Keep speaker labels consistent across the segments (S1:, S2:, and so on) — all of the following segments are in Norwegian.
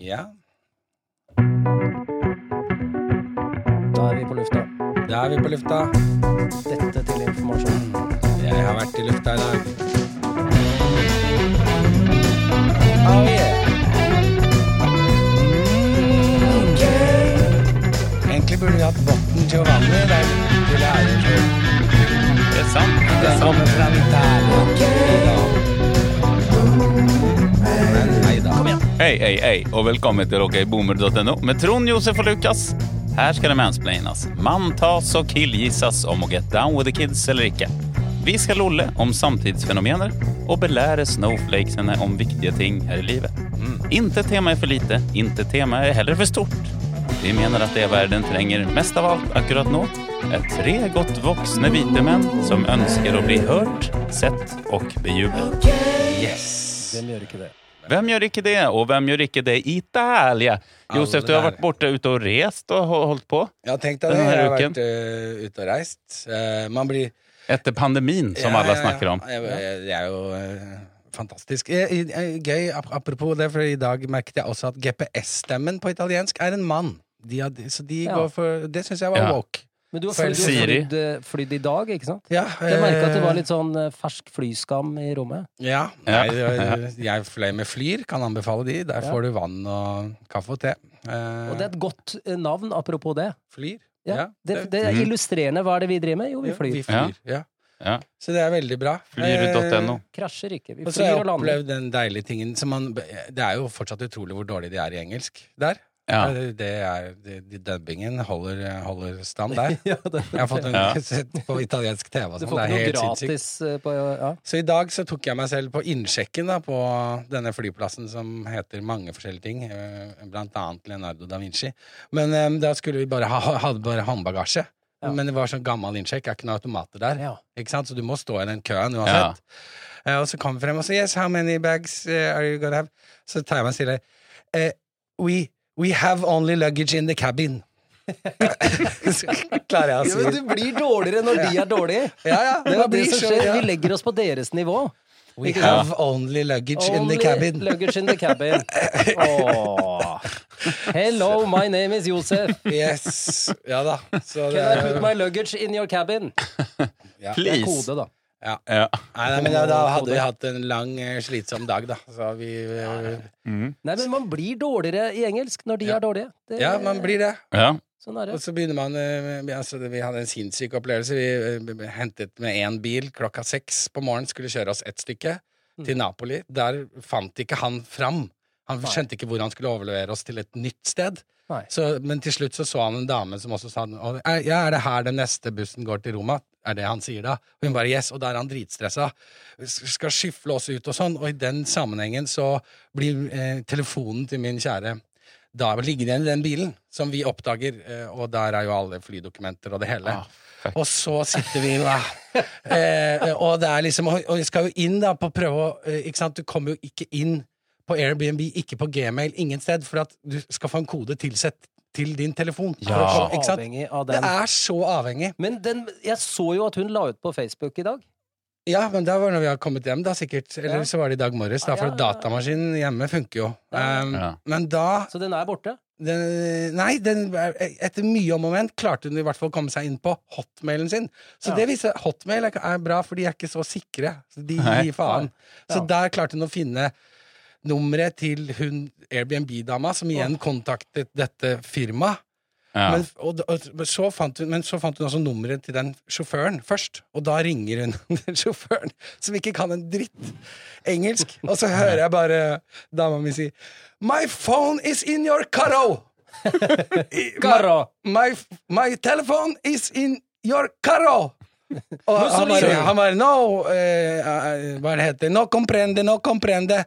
S1: Ja,
S2: Da er vi på lufta.
S1: da er vi på lufta.
S2: Dette til informasjon.
S1: Jeg har vært i lufta i dag. Oh, yeah. Egentlig burde vi hatt Botten Giovanni der til ærekjør. Det er sant. Det kommer fra Italia. Men nei da.
S3: Hei, hei, hei, og velkommen til OKBoomer.no med Trond, Josef og Lukas. Her skal det mansplainas, manntas og killgissas om å get down with the kids eller ikke. Vi skal lolle om samtidsfenomener og belære snowflakesene om viktige ting her i livet. Inte tema er for lite, inte tema er heller for stort. Vi mener at det verden trenger mest av alt akkurat nå, er tre godt voksne hvite menn som ønsker å bli hørt, sett og bejublet.
S1: Yes.
S2: Hvem gjør ikke det?
S3: Hvem gjør ikke det, og hvem gjør ikke det i Italia?
S1: Alle
S3: Josef, du har
S1: der.
S3: vært borte ute og rest og ho- holdt på
S1: Ja, tenk deg det.
S3: Denne
S1: Jeg har
S3: uken.
S1: vært eh, ute og reist. Eh, man blir
S3: etter pandemien, som
S1: Ja, ja,
S3: alle
S1: ja.
S3: snakker om.
S1: Jeg- jeg- Det er jo eh, fantastisk. Eh, eh, Gøy, ap- apropos det, for i dag merket jeg også at GPS-stemmen på italiensk er en mann. De har, så de
S2: Ja.
S1: går for Det syns jeg var
S3: Ja.
S1: woke.
S2: Men du har
S1: Følg
S2: flydd, du har
S3: Siri.
S2: flydd, eh, flydd i dag, ikke sant?
S1: Ja,
S2: Jeg merka at det var
S1: eh,
S2: litt sånn eh, fersk flyskam i rommet.
S1: Ja.
S3: Ja.
S1: Nei, det var- jeg fløy med Flyr, kan anbefale de. Der
S2: Ja.
S1: får du vann og kaffe og te. Eh,
S2: Og det er et godt eh, navn, apropos det.
S1: Flyr.
S2: Ja, det, det er
S3: Mm.
S2: illustrerende. Hva er det vi driver med? Jo, vi flyr.
S1: Vi flyr. Mhm. Ja.
S3: Ja.
S1: Så det er veldig bra. Eh,
S3: Flyr.no.
S2: Krasjer ikke. Vi
S1: Og så har
S2: flyr
S1: jeg
S2: og lander.
S1: opplevd den deilige tingen som man Det er jo fortsatt utrolig hvor dårlig de er i engelsk der.
S3: Ja.
S1: Eh, Det er, det, de- dubbingen holder, holder stand der.
S2: Ja, det,
S1: Jeg har fått en
S3: Ja.
S1: sett på italiensk TV og
S2: du
S1: sånn.
S2: får
S1: Det er
S2: ikke noe
S1: helt sinnssykt.
S2: gratis eh, på ja.
S1: Så i dag så tok jeg meg selv på innsjekken da, på denne flyplassen som heter mange forskjellige ting, eh, blant annet Leonardo da Vinci. Men eh, da skulle vi bare ha hadde bare håndbagasje.
S2: Ja.
S1: Men det var sånn gammel innsjekk, det er ikke noen automater der.
S2: ja.
S1: Ikke sant? Så du må stå i den køen
S3: Ja.
S1: uansett. Eh, og så kom vi frem og sa Yes, how many bags eh, are you gonna have? Så tar jeg meg stille. Eh, we, we have only luggage in the cabin. så klarer jeg å si
S2: men du blir dårligere når de er dårlige!
S1: Ja, ja.
S2: Det er det som skjer.
S1: Ja.
S2: Vi legger oss på deres nivå.
S1: We
S2: Ikke
S1: have only luggage in the
S2: Only
S1: cabin.
S2: Luggage in the cabin. Åh. Hello, my name is Josef.
S1: Yes. Ja da. Så det
S2: Can I
S1: er
S2: put my luggage in your cabin?
S1: ja.
S2: Det er
S3: Please.
S2: kode, da.
S3: Ja.
S1: Nei, nei, men ja, da hadde vi hatt en lang, eh, slitsom dag, da. Så vi eh,
S2: Nei, men man blir dårligere i engelsk når de
S1: Ja.
S2: er dårlige. Det,
S1: Ja, man blir det.
S3: ja.
S2: Sånn er
S1: Og
S2: det.
S1: så begynner man eh, med- altså, Vi hadde en sinnssyk opplevelse. Vi eh, hentet med én bil klokka seks på morgenen, skulle kjøre oss ett stykke til Napoli. Der fant ikke han fram. Han
S2: Nei.
S1: skjønte ikke hvor han skulle overlevere oss til et nytt sted.
S2: Nei.
S1: Så, men til slutt så, så han en dame som også sa «Å, er- Ja, er det her den neste bussen går til Roma? Er det han sier da? Og hun bare yes, og da er han dritstressa. S- Skal skyfle oss ut og sånn. Og i den sammenhengen så blir eh, telefonen til min kjære da ligger den i den bilen som vi oppdager, eh, og der er jo alle flydokumenter og det hele.
S3: Ah, fuck.
S1: og så sitter vi ah, eh, Og det er liksom Og og vi skal jo inn da på å prøve å eh, Ikke sant, du kommer jo ikke inn på Airbnb, ikke på Gmail, ingen sted, for at du skal få en kode tilsett til din telefon. For
S3: Ja.
S1: å få- ikke sant?
S2: Avhengig av
S1: Det
S2: den.
S1: er så avhengig.
S2: Men den, jeg så jo at hun la ut på Facebook i dag.
S1: Ja, men da var det når vi har kommet hjem, da sikkert. Eller
S2: Ja.
S1: så var det i dag morges, da, for
S2: Ja, ja, ja.
S1: datamaskinen hjemme funker jo.
S2: Ja,
S1: Um,
S3: Ja.
S1: Men da
S2: Så den er borte.
S1: den, Nei, den, etter mye om og men klarte hun i hvert fall å komme seg inn på hotmailen sin. Så
S2: Ja.
S1: det viser hotmail er- er bra, for de er ikke så sikre. Så de
S3: Nei.
S1: gir faen. Så
S2: Ja.
S1: der klarte hun å finne nummeret til hun Airbnb-dama, som igjen kontaktet dette firmaet.
S3: Ja.
S1: Men, og, og, så fant hun, men så fant hun også nummeret til den sjåføren først, og da ringer hun den sjåføren, som ikke kan en dritt engelsk, og så hører jeg bare dama mi si My phone is in your carro! I-
S2: Carro.
S1: My, my, my telephone is in your carro! Og han
S2: Mussolini.
S1: bare, han bare No eh, eh, Hva er det heter No comprende, no comprende.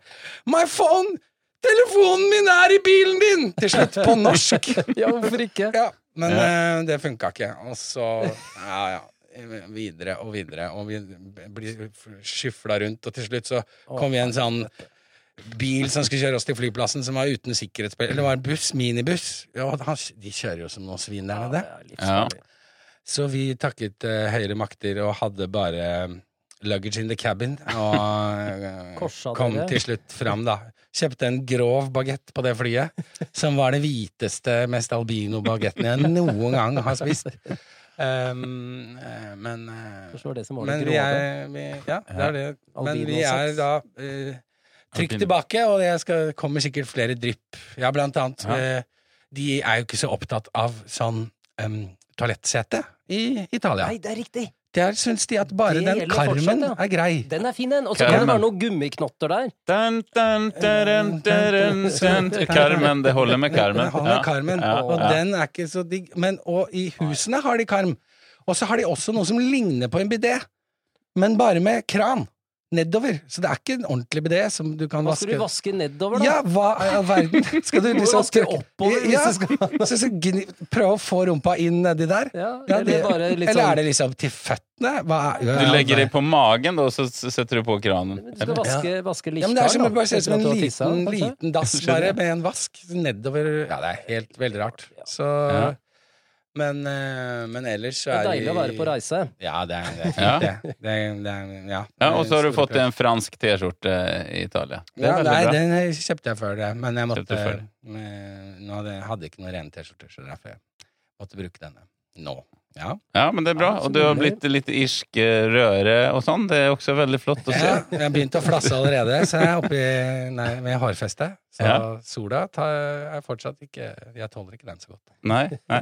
S1: My phone! Telefonen min er i bilen din! Til slutt, på norsk.
S2: Ja, hvorfor ikke?
S1: Ja, men eh, det funka ikke. Og så ja, ja, videre og videre, og vi blir skyfla rundt, og til slutt så kom vi i en sånn bil som skulle kjøre oss til flyplassen, som var uten sikkerhetsbelte. Eller det var en buss, minibuss. Ja, og han, de kjører jo som noen svin der nede.
S3: Ja.
S1: Så vi takket eh, høyere makter og hadde bare luggage in the cabin, og eh,
S2: Korsa
S1: kom
S2: dere.
S1: til slutt fram, da. Kjøpte en grov bagett på det flyet, som var den hviteste, mest albino-bagetten jeg noen gang har spist. Um, eh, men eh,
S2: Forstår det som var
S1: men
S2: det
S1: vi
S2: grove.
S1: er vi, Ja, det er det. Men
S2: Albino
S1: vi er
S2: sex.
S1: da eh, trykk
S3: Albino.
S1: tilbake, og det skal, kommer sikkert flere drypp. Ja, blant annet.
S3: Ja.
S1: eh, de er jo ikke så opptatt av sånn em, toalettsete i Italia.
S2: Nei, det er riktig!
S1: Der syns de at bare
S2: Det
S1: den
S2: gjelder
S1: karmen
S2: fortsatt, ja.
S1: er grei.
S2: Den er fin, den. Og så kan det
S3: Carmen.
S2: være noen gummiknotter der.
S3: Dun, dun, dun, dun, dun, dun. Carmen. Det holder med Carmen.
S1: Den holder med karmen,
S3: Ja,
S1: og
S3: ja.
S1: den er ikke så digg. Men og i husene har de karm. Og så har de også noe som ligner på en bidé, men bare med kran nedover. Så det er ikke en ordentlig bidé som du kan
S2: Hva skal
S1: vaske.
S2: du vaske nedover, da?
S1: Ja, hva i all verden? Skal du
S2: Må du
S1: liksom
S2: vaske
S1: trykke-
S2: oppover hvis
S1: Ja,
S2: du skal-
S1: så, så gni, prøve å få rumpa inn nedi der?
S2: Ja,
S1: Ja,
S2: eller
S1: det-
S2: bare litt
S1: Eller er
S2: sånn
S1: det liksom til føttene? Hva er,
S3: Du legger det på magen, da, og så s- setter du på kranen.
S2: Du skal vaske, vaske litt
S1: Ja, men Det er som
S2: da,
S1: det bare ser ut som en
S2: etter at du har
S1: liten,
S2: tisset, altså. kanskje?
S1: liten dass bare med en vask nedover Ja, det er helt veldig rart. Så
S3: Ja.
S1: men, eh, men ellers så
S2: Det
S1: er
S2: er deilig å være på reise.
S1: Ja, det er, det er
S3: Ja.
S1: fint, det. det, er, det er, ja.
S3: Ja, og så har du
S1: Store
S3: fått
S1: prat.
S3: en fransk T-skjorte i Italia. Det
S1: ja,
S3: er
S1: Nei,
S3: veldig bra.
S1: den kjøpte jeg før det, men jeg måtte
S3: Kjøpte før det.
S1: eh, Nå hadde jeg hadde ikke noen rene T-skjorter, så derfor jeg måtte bruke denne nå. Ja.
S3: Ja, men det er bra. Og du har blitt litt irsk eh, rødere og sånn. Det er også veldig flott å se.
S1: Ja, jeg har begynt å flasse allerede, så jeg er oppe i, nei, med hårfeste. Så
S3: Ja.
S1: sola tar, er fortsatt ikke Jeg tåler ikke den så godt.
S3: Nei, nei.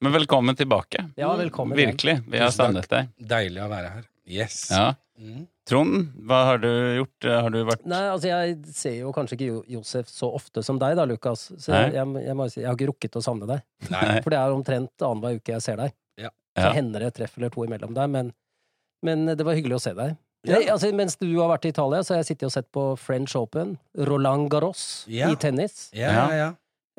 S3: Men velkommen tilbake.
S2: Ja, velkommen igjen.
S3: Virkelig. Vi har
S1: Tusen takk.
S3: savnet deg.
S1: Deilig å være her. Yes.
S3: Ja.
S1: Mm.
S3: Trond, hva har du gjort? Eh, Har du vært
S2: Nei, altså jeg ser jo kanskje ikke Jo- Josef så ofte som deg da, Lukas. Så
S3: Nei.
S2: jeg, jeg, jeg må jo si, jeg har ikke rukket å savne deg.
S1: Nei.
S2: For det er omtrent annenhver uke jeg ser deg.
S1: Ja.
S3: Ja.
S2: Så hender det et treff eller to imellom der, men, men det var hyggelig å se deg.
S1: Ja.
S2: Nei, altså, mens du har vært i Italia, så har jeg sittet og sett på French Open, Roland Garros
S1: Ja.
S2: i tennis.
S1: Ja, ja, ja.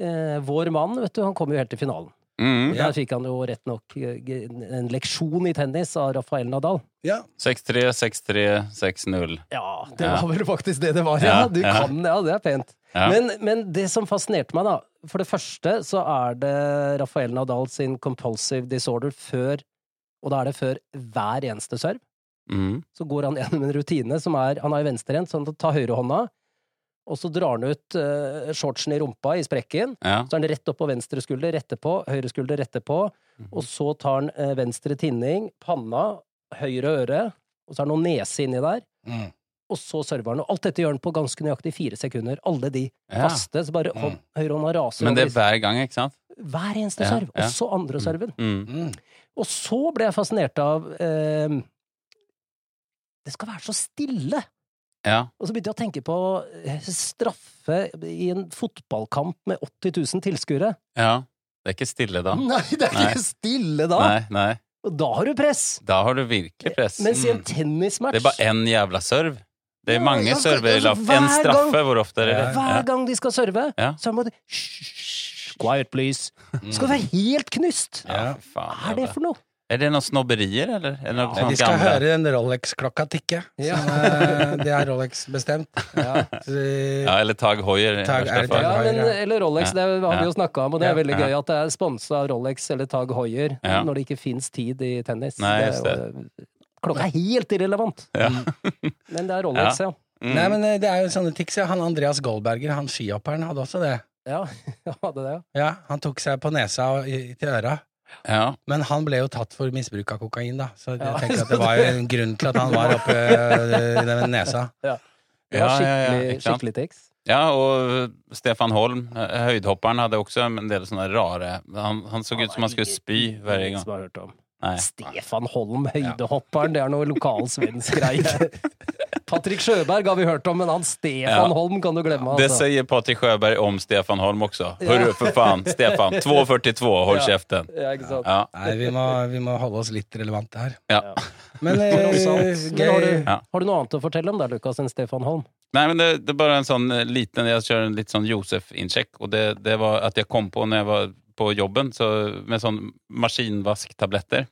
S2: Eh, vår mann, vet du, han kom jo helt til finalen.
S3: mm,
S1: Ja.
S2: Der fikk han jo rett nok eh, en leksjon i tennis av Rafael Nadal.
S1: ja.
S3: 6-3, 6-3, 6-0?
S2: Ja, det
S3: Ja.
S2: var vel faktisk det det var.
S3: Ja,
S2: Ja, du
S3: ja.
S2: kan Ja, det er pent.
S3: Ja.
S2: Men, men det som fascinerte meg, da For det første så er det Rafael Nadal sin compulsive disorder før Og da er det før hver eneste serve.
S3: Mm.
S2: Så går han gjennom en rutine som er Han er jo venstrehendt, så han tar høyrehånda, og så drar han ut eh, shortsen i rumpa, i sprekken.
S3: Ja.
S2: Så er den rett opp på venstre skulder, rette på, høyre skulder, rette på. Og så tar han eh, venstre tinning, panna, høyre øre, og så er det noe nese inni der.
S1: Mm.
S2: Og så server han. Og alt dette gjør han på ganske nøyaktig fire sekunder. Alle de
S3: Ja. Mm.
S2: faste. Så bare hånd, høyrehånda raser
S3: Men det er
S2: over
S3: hver gang, ikke sant?
S2: disse- hver eneste
S3: Ja,
S2: serv.
S3: ja.
S2: Og så andre serven.
S3: Mm.
S1: Mm.
S2: Og så ble jeg fascinert av eh, Det skal være så stille!
S3: Ja.
S2: Og så begynte jeg å tenke på eh, straffe i en fotballkamp med 80 000 tilskuere.
S3: ja. Det er ikke stille da.
S2: Nei, det er
S3: Nei.
S2: ikke stille Mm, da!
S3: Nei, nei.
S2: Og da har du press!
S3: Da har du virkelig press.
S2: Mens i en
S3: Mm.
S2: tennismatch
S3: Det er bare én jævla serv. Det er
S2: Ja,
S3: mange
S2: ja,
S3: server i
S2: altså,
S3: laff. En
S2: hver
S3: straffe, hvor ofte er det?
S1: Ja.
S2: Hver gang de skal serve,
S3: Ja. Mm.
S2: så må de Hysj! Quiet, please! Skal det være helt knust!
S3: Ja,
S1: Ja.
S3: fy faen.
S2: Hva er det
S3: jævla.
S2: for noe?
S3: Er det noen snobberier, eller? Er det noe
S1: Ja,
S3: sånt
S1: de skal
S3: gamle?
S1: høre den Rolex-klokka tikke.
S2: Ja.
S1: Som, eh, det har Rolex bestemt. Så,
S3: Ja, eller Tag Hoier. i
S1: Tag-
S3: verste
S1: er det Tag
S3: fall.
S2: Ja, men,
S1: Heuer, ja.
S2: eller Rolex, det har
S3: Ja.
S2: vi jo snakka om, og det er
S1: Ja.
S3: Ja.
S2: veldig gøy at det er sponsa av Rolex eller Tag Hoier
S3: Ja.
S2: når det ikke fins tid i tennis.
S3: Nei,
S2: Det er
S3: just
S2: jo- Klokka er helt irrelevant! Mm.
S3: Ja.
S2: Men det er Rolex, ja.
S3: Mm.
S1: Nei, men eh, det er jo sånne tics. Ja. Han Andreas Goldberger, han skihopperen, hadde også det.
S2: Ja, ja det er det.
S1: Ja, han tok seg på nesa og i, til øra.
S3: ja.
S1: Men han ble jo tatt for misbruk av kokain, da. Så jeg
S2: Ja.
S1: tenker at det var jo en grunn til at han var oppe eh, i den nesa.
S2: Det var
S3: Ja, ja, ja,
S2: skikkelig,
S3: ikke sant?
S2: skikkelig tics.
S3: ja, og Stefan Holm, eh, høydhopperen, hadde også en del sånne rare Han, han så ut som han skulle spy hver
S2: Ingen
S3: gang.
S2: som har hørt om.
S3: Nei.
S1: Altså.
S2: Stefan Holm, høydehopperen, det er noe lokal svensk greie. Patrick Sjøberg har vi hørt om, men han
S3: Ja.
S2: Stefan Holm kan du glemme.
S3: Det
S2: Altså.
S3: säger Patrik Sjöberg om Stefan Holm också.
S2: Ja.
S3: Hörru för fan, Stefan. 2.42, håll
S2: Ja.
S3: käften.
S2: Ja, ikke sant?
S3: Ja.
S1: Nei, vi må, vi må holde oss litt relevante her.
S3: Ja.
S1: Men eh,
S2: Men også- Men har,
S1: gøy
S2: du, har du noe annet å fortelle om der, Lukas, enn Stefan Holm?
S3: Nej, men det, det är bara en sån eh, liten, jag kör en liten sån Josef-incheck och det, det var att jag kom på när jag var på jobben så, med sån maskinvasktabletter.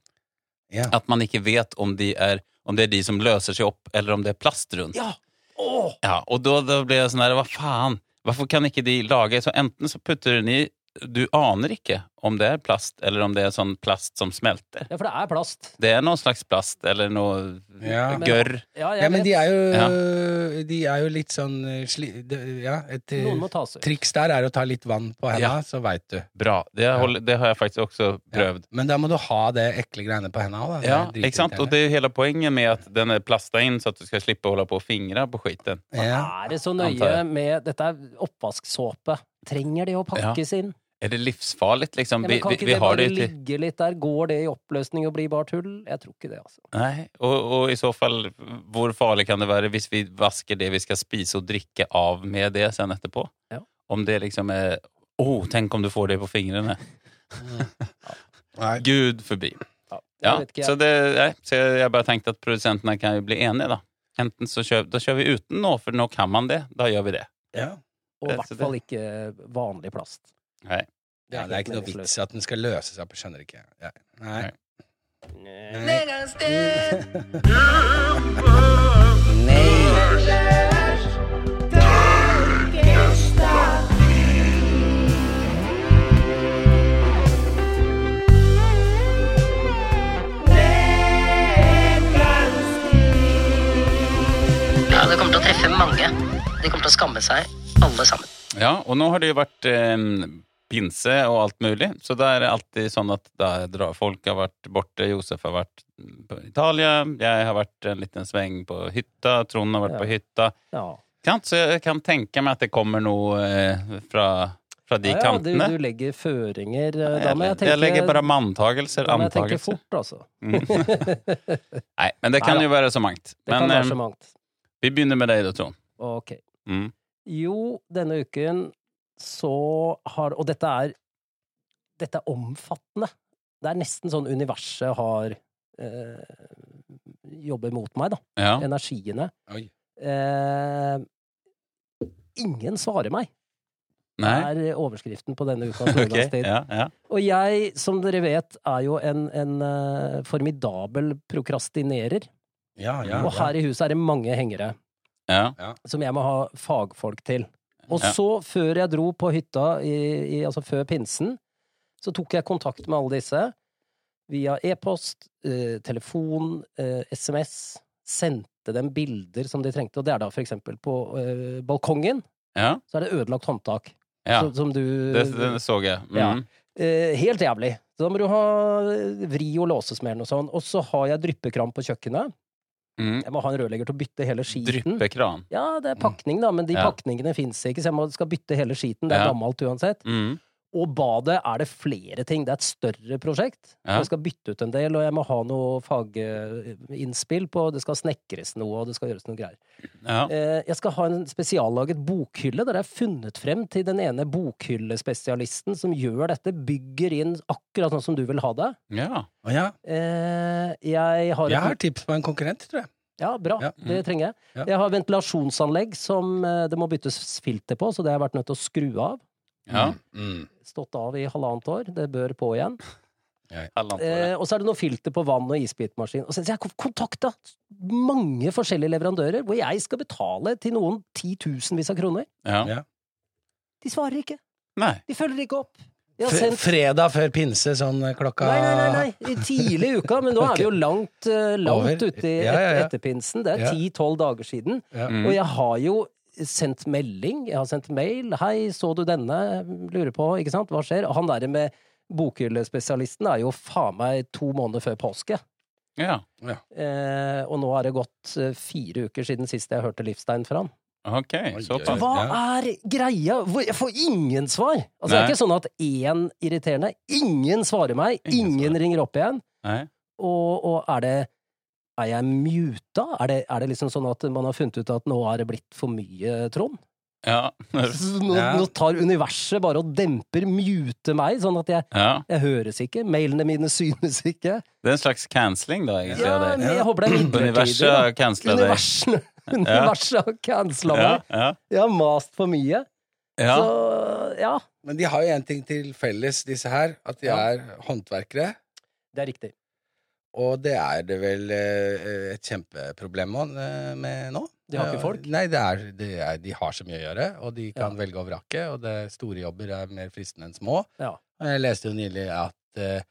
S1: Ja.
S3: Att man inte vet om det är, om det är de som löser sig upp eller om det är plast runt.
S2: Ja! Åh!
S3: Ja, og da, da ble jeg sånn her, hva faen? Hvorfor kan ikke de lage så Enten så putter du den i du aner ikke om det er plast, eller om det er sånn plast som smelter.
S2: Ja, for det er plast.
S3: Det er noe slags plast, eller noe
S1: Ja.
S3: gørr.
S2: Ja, jeg
S1: Ja, men
S2: vet.
S1: de er jo, de er jo litt sånn eh, sli, det- Ja, et eh,
S2: Noen må tas ut.
S1: triks der er å ta litt vann på
S3: Ja.
S1: henda, så veit du.
S3: Bra. Det, holder, det har jeg faktisk også prøvd.
S1: Ja. Men da må du ha det ekle greiene på henda òg, da. Det er
S3: Ja,
S1: dritirriterende.
S3: ikke sant? Og det er hele poenget med at den er plasta inn, så at du skal slippe å holde på å fingre på skiten.
S1: ja.
S3: Ah.
S2: Er det så
S3: Antar
S2: nøye
S3: jeg.
S2: med Dette er oppvasksåpe. Trenger det å pakkes inn?
S3: Er det livsfarlig, liksom?
S2: Ja,
S3: Vi,
S2: men kan
S3: vi,
S2: ikke
S3: vi
S2: det
S3: har
S2: bare
S3: det jo til
S2: ligge litt der? Går det i oppløsning og blir bare tull? Jeg tror ikke det, altså.
S3: Nei, og, og i så fall, hvor farlig kan det være hvis vi vasker det vi skal spise og drikke av med det sen etterpå?
S2: Ja.
S3: Om det liksom er Å, oh, tenk om du får det på fingrene.
S1: Nei.
S3: Gud forbi.
S2: Ja, jeg
S3: Ja,
S2: vet ikke, jeg.
S3: så, det, nei, så jeg bare tenkte at produsentene kan jo bli enige, da. Enten så kjører, da kjører vi uten nå, for nå kan man det. Da gjør vi det.
S1: Ja.
S2: Og i
S3: det-
S2: hvert fall ikke vanlig plast.
S1: ja, det er ikke noe vits i at den skal løse seg opp, jeg skjønner ikke. Ja. Nei.
S3: Nei.
S1: Nei.
S4: Ja, det kommer til å treffe mange. De kommer til å skamme seg, alle sammen.
S3: Ja, og nå har det jo vært eh, pinse og alt mulig, så da er det alltid sånn at da drar, folk har vært borte. Josef har vært på Italia, jeg har vært en liten sveng på hytta, Trond har vært
S2: Ja.
S3: på hytta.
S2: Ja.
S3: Kan, så jeg kan tenke meg at det kommer noe eh, fra, fra de
S2: Ja, ja, du,
S3: kantene.
S2: du legger føringer. eh, Da
S3: jeg,
S2: må jeg
S3: jeg,
S2: tenke,
S3: legger bare manntagelser,
S2: da må jeg tenke
S3: antagelser. Mm.
S2: fort, altså.
S3: Nei, men det kan
S2: Neida.
S3: jo være så mangt.
S2: Det kan
S3: Men
S2: være
S3: eh,
S2: så mangt.
S3: vi begynner med deg da, Trond.
S2: Ok.
S3: Mm.
S2: Jo, denne uken så har Og dette er Dette er omfattende. Det er nesten sånn universet har eh, Jobber mot meg, da.
S3: Ja.
S2: Energiene.
S1: Oi.
S2: Eh, ingen svarer meg,
S3: Nei?
S2: er overskriften på denne ukas
S3: Ok,
S2: Nordlandstid.
S3: ja, ja.
S2: Og jeg, som dere vet, er jo en, en eh, formidabel prokrastinerer.
S1: Ja, ja,
S2: Og her i huset er det mange hengere
S3: ja.
S2: som jeg må ha fagfolk til. Og
S3: Ja.
S2: så, før jeg dro på hytta, i, i, altså før pinsen, så tok jeg kontakt med alle disse via e-post, eh, telefon, eh, SMS. Sendte dem bilder som de trengte, og det er da for eksempel på eh, balkongen,
S3: ja.
S2: så er det ødelagt håndtak.
S3: ja.
S2: Som, som du
S3: Det, det så jeg. Mm.
S2: Ja. Eh, helt jævlig. Så Da må du ha eh, vri og låsesmellen og sånn. Og så har jeg dryppekram på kjøkkenet.
S3: Mm.
S2: Jeg må ha en rørlegger til å bytte hele skiten.
S3: Dryppekran.
S2: Ja, det er pakning, da, men de
S3: Mm. Ja.
S2: pakningene fins ikke, så jeg må, skal bytte hele skiten. Det er
S3: Ja.
S2: gammelt uansett.
S3: Mm.
S2: Og badet er det flere ting. Det er et større prosjekt.
S3: Ja.
S2: Jeg skal bytte ut en del, og jeg må ha noe faginnspill på Det skal snekres noe, og det skal gjøres noe greier.
S3: Ja.
S2: Eh, Jeg skal ha en spesiallaget bokhylle, der jeg har funnet frem til den ene bokhyllespesialisten som gjør dette, bygger inn akkurat sånn som du vil ha det.
S3: ja.
S1: Å, ja.
S2: Eh, Jeg har
S1: Jeg har tips på en konkurrent, tror jeg.
S2: Ja, bra.
S1: Ja. Mm.
S2: Det trenger jeg.
S1: Ja.
S2: Jeg har ventilasjonsanlegg som eh, det må byttes filter på, så det har jeg vært nødt til å skru av.
S3: ja.
S1: Mm.
S2: Stått av i halvannet år. Det bør på igjen.
S3: Halvannet år, ja.
S2: Eh, og så er det noe filter på vann og isbitmaskin. Og så så jeg har kontakta mange forskjellige leverandører, hvor jeg skal betale til noen titusenvis av kroner.
S3: Ja.
S1: ja.
S2: De svarer ikke.
S3: Nei.
S2: De følger ikke opp. Jeg har
S1: Fre-
S2: sendt
S1: Fredag før pinse, sånn eh, klokka
S2: Nei, nei, nei, nei. I tidlig i uka, men nå er vi jo langt, eh, langt
S1: Over.
S2: ute i
S1: Ja, ja,
S2: et,
S1: ja.
S2: etterpinsen. Det
S1: Ja.
S2: er ti-tolv dager siden.
S1: Ja.
S3: Mm.
S2: Og jeg har jo sendt melding, jeg har sendt mail. 'Hei, så du denne? Lurer på, ikke sant? Hva skjer?' Og han der med bokhyllespesialisten er jo faen meg to måneder før påske.
S3: Ja.
S2: Eh, og nå har det gått eh, fire uker siden sist jeg hørte Livstein fra han.
S3: Ok,
S1: oi,
S3: såpass.
S2: Hva er greia? Hvor- Jeg får ingen svar! Altså, det er
S3: Nei.
S2: ikke sånn at én irriterende Ingen svarer meg,
S3: Ingen
S2: ingen,
S3: svarer.
S2: ringer opp igjen.
S3: Nei.
S2: Og, og er det Er jeg muta? Er det, er det liksom sånn at man har funnet ut at nå er det blitt for mye, Trond?
S3: Ja.
S2: Så Nå,
S1: Ja.
S2: nå tar universet bare og demper mute meg, sånn at jeg,
S3: ja.
S2: jeg høres ikke. Mailene mine synes ikke.
S3: Det er en slags cancelling, da, egentlig.
S2: Ja,
S3: av det.
S2: men jeg håper det er midlertidig.
S3: Universet
S2: da.
S3: har cancela deg.
S2: Universen- Universet har cancela
S3: Ja,
S2: meg.
S3: ja.
S2: Jeg har mast for mye.
S3: ja.
S2: Så ja,
S1: Men de har jo én ting til felles, disse her. At de
S2: Ja.
S1: er håndverkere.
S2: det er riktig.
S1: Og det er det vel eh, et kjempeproblem med, eh, med nå. Eh,
S2: De har ikke folk?
S1: Nei, det er, det er, de har så mye å gjøre, og de kan
S2: Ja.
S1: velge og vrake, og det store jobber er mer fristende enn små.
S2: Ja.
S1: Og Jeg leste jo nylig at eh,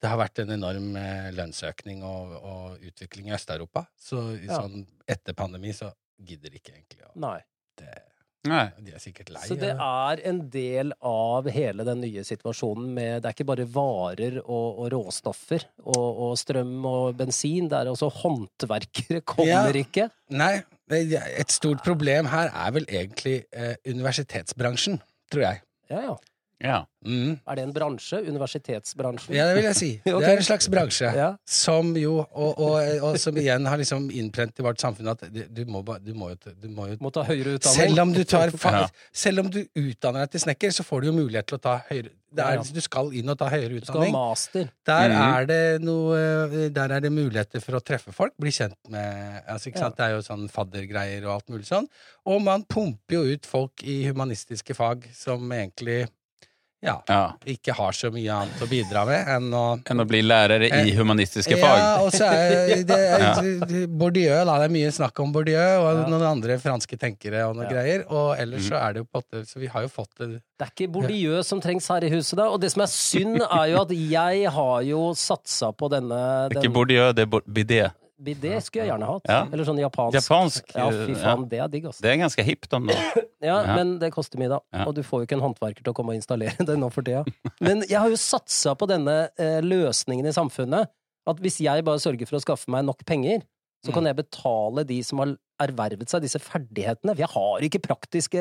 S1: det har vært en enorm eh, lønnsøkning og, og utvikling i Øst-Europa, så i
S2: Ja.
S1: sånn etter pandemi så gidder de ikke egentlig å
S2: Nei.
S1: det,
S3: Nei.
S1: De er sikkert lei.
S2: Så det
S1: eller?
S2: er en del av hele den nye situasjonen med Det er ikke bare varer og, og råstoffer og, og strøm og bensin. Det er også håndverkere
S1: Ja.
S2: kommer ikke.
S1: Nei, det, et stort problem her er vel egentlig eh, universitetsbransjen, tror jeg.
S2: Ja, ja.
S3: Ja.
S1: Mm.
S2: Er det en bransje? Universitetsbransjen?
S1: Ja, det vil jeg si.
S2: Ok.
S1: Det er en slags bransje.
S2: Ja.
S1: Som jo, og, og, og som igjen har liksom innprent i vårt samfunn at du, du, må, ba- du må jo, t- du må jo
S2: Må ta høyere utdanning.
S1: selv om, du tar fa
S3: Ja.
S1: selv om du utdanner deg til snekker, så får du jo mulighet til å ta høyere det
S2: Ja.
S1: er, Du skal inn og ta høyere
S2: Du skal ha
S1: utdanning.
S2: master.
S1: Der
S3: Mhm.
S1: er, det noe, eh, der er det muligheter for å treffe folk, bli kjent med altså, ikke
S2: Ja.
S1: sant? Det er jo sånn faddergreier og alt mulig sånn. Og man pumper jo ut folk i humanistiske fag som egentlig ja,
S3: ja.
S1: ikke har så mye annet å bidra med enn å
S3: Enn å bli lærere
S2: Eh,
S3: i humanistiske
S1: Ja,
S3: fag.
S1: og så er det,
S3: Ja.
S1: det- Bourdieu, da. Det er mye snakk om Bourdieu og
S2: Ja.
S1: noen andre franske tenkere og noen
S2: Ja.
S1: greier. Og ellers
S3: Mm.
S1: så er det jo på en måte Så vi har jo fått det
S2: Det er ikke Bourdieu som trengs her i huset, da. Og det som er synd, er jo at jeg har jo satsa på denne
S3: Det er
S2: den-
S3: ikke Bourdieu, det er Bo- Bidé.
S2: Det skulle jeg gjerne hatt.
S3: Ja.
S2: Eller sånn japansk.
S3: Japansk, eh,
S2: Ja, fy
S3: ja.
S2: faen, det er digg, altså.
S3: Det er ganske hipt om det.
S2: Ja,
S3: Ja.
S2: men det koster mye, da.
S3: Ja.
S2: Og du får jo ikke en håndverker til å komme og installere det nå for tida. Men jeg har jo satsa på denne eh, løsningen i samfunnet. At hvis jeg bare sørger for å skaffe meg nok penger, så
S3: Mm.
S2: kan jeg betale de som har ervervet seg disse ferdighetene. For jeg har ikke praktiske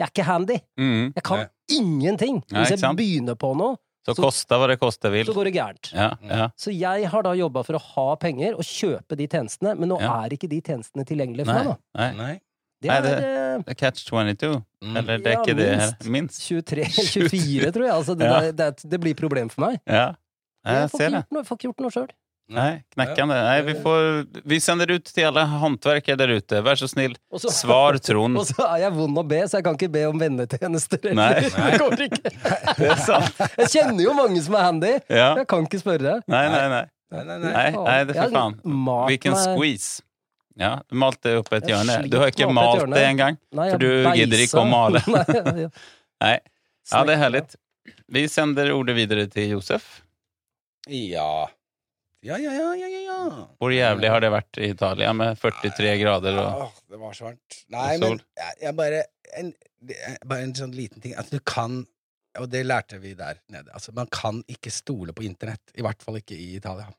S2: Jeg er ikke handy.
S3: Mm.
S2: Jeg kan
S1: Nei.
S2: ingenting!
S3: Nei,
S2: Hvis
S3: ikke
S2: jeg
S3: sant?
S2: begynner på noe,
S3: Så
S2: Så-
S3: kosta hva det kosta vil.
S2: så går det gærent.
S3: Ja, ja.
S2: Så jeg har da jobba for å ha penger og kjøpe de tjenestene, men nå
S3: Ja.
S2: er ikke de tjenestene tilgjengelige for
S3: Nei,
S2: meg, da.
S3: nei.
S1: Nei.
S2: Det
S3: Nei,
S2: er
S3: det-
S2: eh,
S3: Det er catch 22.
S1: Mm.
S3: Eller det er
S2: Ja,
S3: ikke det her.
S2: minst.
S3: Minst.
S2: 23 eller 24, tror jeg. Altså, det,
S3: Ja.
S2: der, det, er- det blir problem for meg.
S3: Ja. Jeg
S2: får
S3: ser
S2: ikke
S3: det.
S2: gjort noe- får ikke gjort noe sjøl.
S3: Nei, knekkende. Nei, vi, får, vi sender ut til alle håndverkere der ute. Vær så snill,
S2: Og så-
S3: svar Trond.
S2: Og så er jeg vond å be, så jeg kan ikke be om vennetjenester. eller-
S3: Nei.
S2: Det går ikke.
S3: Det er sant.
S2: Jeg kjenner jo mange som er handy.
S3: Ja.
S2: Jeg kan ikke spørre.
S3: Nei, nei, nei.
S1: Nei, nei, nei.
S3: Nei, nei det er for faen. Hvilken squeeze. Ja, du malte opp et
S2: Jeg
S3: hjørne.
S2: sliter
S3: Du har ikke
S2: med å
S3: malt
S2: opp et hjørne.
S3: det engang. for du gidder ikke å male. Nei. Ja, det er herlig. Vi sender ordet videre til Josef.
S1: Ja. Ja, ja, ja, ja, ja, ja.
S3: Hvor jævlig har det vært i Italia med 43 grader og
S1: Åh, det var så varmt. Nei,
S3: Og sol.
S1: men jeg, jeg bare en, det er Bare en sånn liten ting. At du kan Og det lærte vi der nede. Altså, man kan ikke stole på internett. I hvert fall ikke i Italia.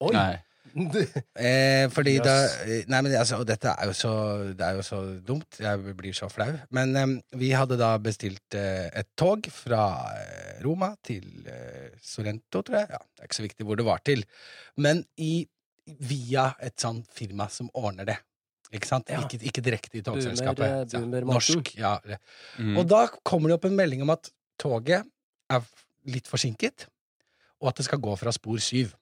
S2: Oi!
S3: Nei.
S1: Eh, fordi
S2: Jøss.
S1: da eh, Nei, men altså, og dette er jo så Det er jo så dumt. Jeg blir så flau. Men em, vi hadde da bestilt eh, et tog fra eh, Roma til eh, Sorrento, tror jeg. Ja, det er ikke så viktig hvor det var til. Men i, via et sånn firma som ordner det. Ikke sant?
S2: Ja.
S1: Ikke, ikke direkte i
S2: Boomer, eh,
S1: togselskapet. Ja,
S2: Boomer Morten.
S1: Norsk. Ja.
S3: Mm.
S1: Og da kommer det opp en melding om at toget er f- litt forsinket, og at det skal gå fra spor syv.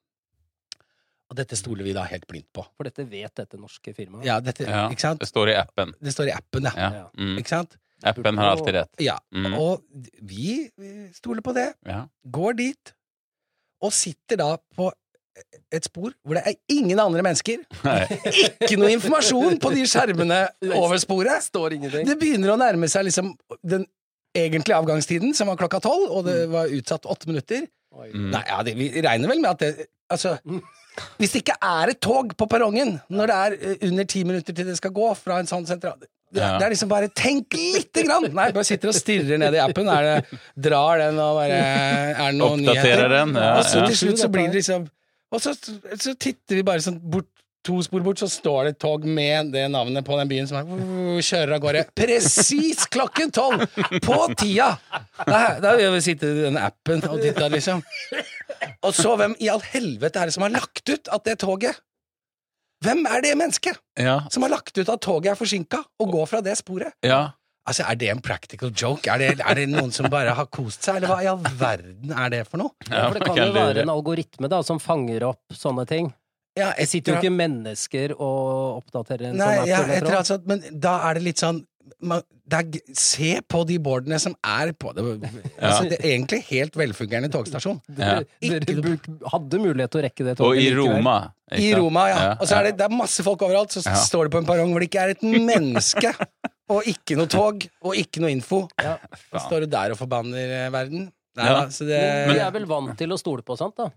S1: Og dette stoler vi da helt blindt på.
S2: For dette vet dette norske firmaet.
S1: Ja, dette,
S3: Ja,
S1: ikke sant?
S3: Det står i appen.
S1: Det står i appen, ja.
S3: Ja. Mm.
S1: Ikke sant?
S3: Appen har alltid rett.
S1: Ja.
S3: Mm.
S1: Og d- vi eh, stoler på det,
S3: Ja.
S1: går dit, og sitter da på et spor hvor det er ingen andre mennesker.
S3: Nei.
S1: Ikke noe informasjon på de skjermene over sporet.
S2: Står ingenting.
S1: Det begynner å nærme seg liksom den egentlige avgangstiden, som var klokka tolv, og det var utsatt åtte minutter.
S2: Oi.
S3: Mm.
S1: Nei, ja, det, vi regner vel med at det Altså, hvis det ikke er et tog på perrongen når det er eh, under ti minutter til det skal gå fra en sånn sentral det,
S3: Ja.
S1: det er liksom bare Tenk lite grann! Nei, bare sitter og stirrer ned i appen. Er det, drar den og bare Er det noen
S3: Oppdaterer
S1: nyheter?
S3: den. Ja,
S1: og så
S3: ja.
S1: til slutt så blir det liksom Og så, så titter vi bare sånn bort To spor bort, så står det et tog med det navnet på den byen som er, kjører av gårde. Presis klokken tolv! På tida! Da, da vil vi sitte i den appen og titte, liksom. Og så, hvem i all helvete er det som har lagt ut at det toget Hvem er det mennesket
S3: Ja.
S1: som har lagt ut at toget er forsinka, og går fra det sporet?
S3: ja.
S1: Altså, Er det en practical joke? Er det, er det noen som bare har kost seg, eller hva i all verden er det for noe?
S2: Ja, for det
S3: man
S2: kan jo
S3: lure.
S2: være en algoritme da, som fanger opp sånne ting.
S1: Ja,
S2: Det sitter jo ikke mennesker og oppdaterer en
S1: Nei,
S2: sånn app.
S1: ja,
S2: vil jeg
S1: jeg
S2: tro.
S1: tror altså, at- men da er det litt sånn man, det er, g- se på de boardene som er på det. Altså, det er egentlig helt velfungerende togstasjon.
S3: Ja.
S2: Dere bruk- hadde mulighet til å rekke det toget.
S3: Og i
S2: likevel.
S3: Roma. ikke
S1: I
S3: sant?
S1: Roma, ja. Og så
S3: ja.
S1: er det, det er masse folk overalt, så s-
S3: Ja.
S1: står det på en perrong hvor det ikke er et menneske, og ikke noe tog, og ikke noe info.
S2: Ja.
S1: Så står du der og forbanner eh, verden. Nei,
S3: Ja.
S1: da, så det
S2: Men Eh, vi er vel vant til å stole på sånt, da.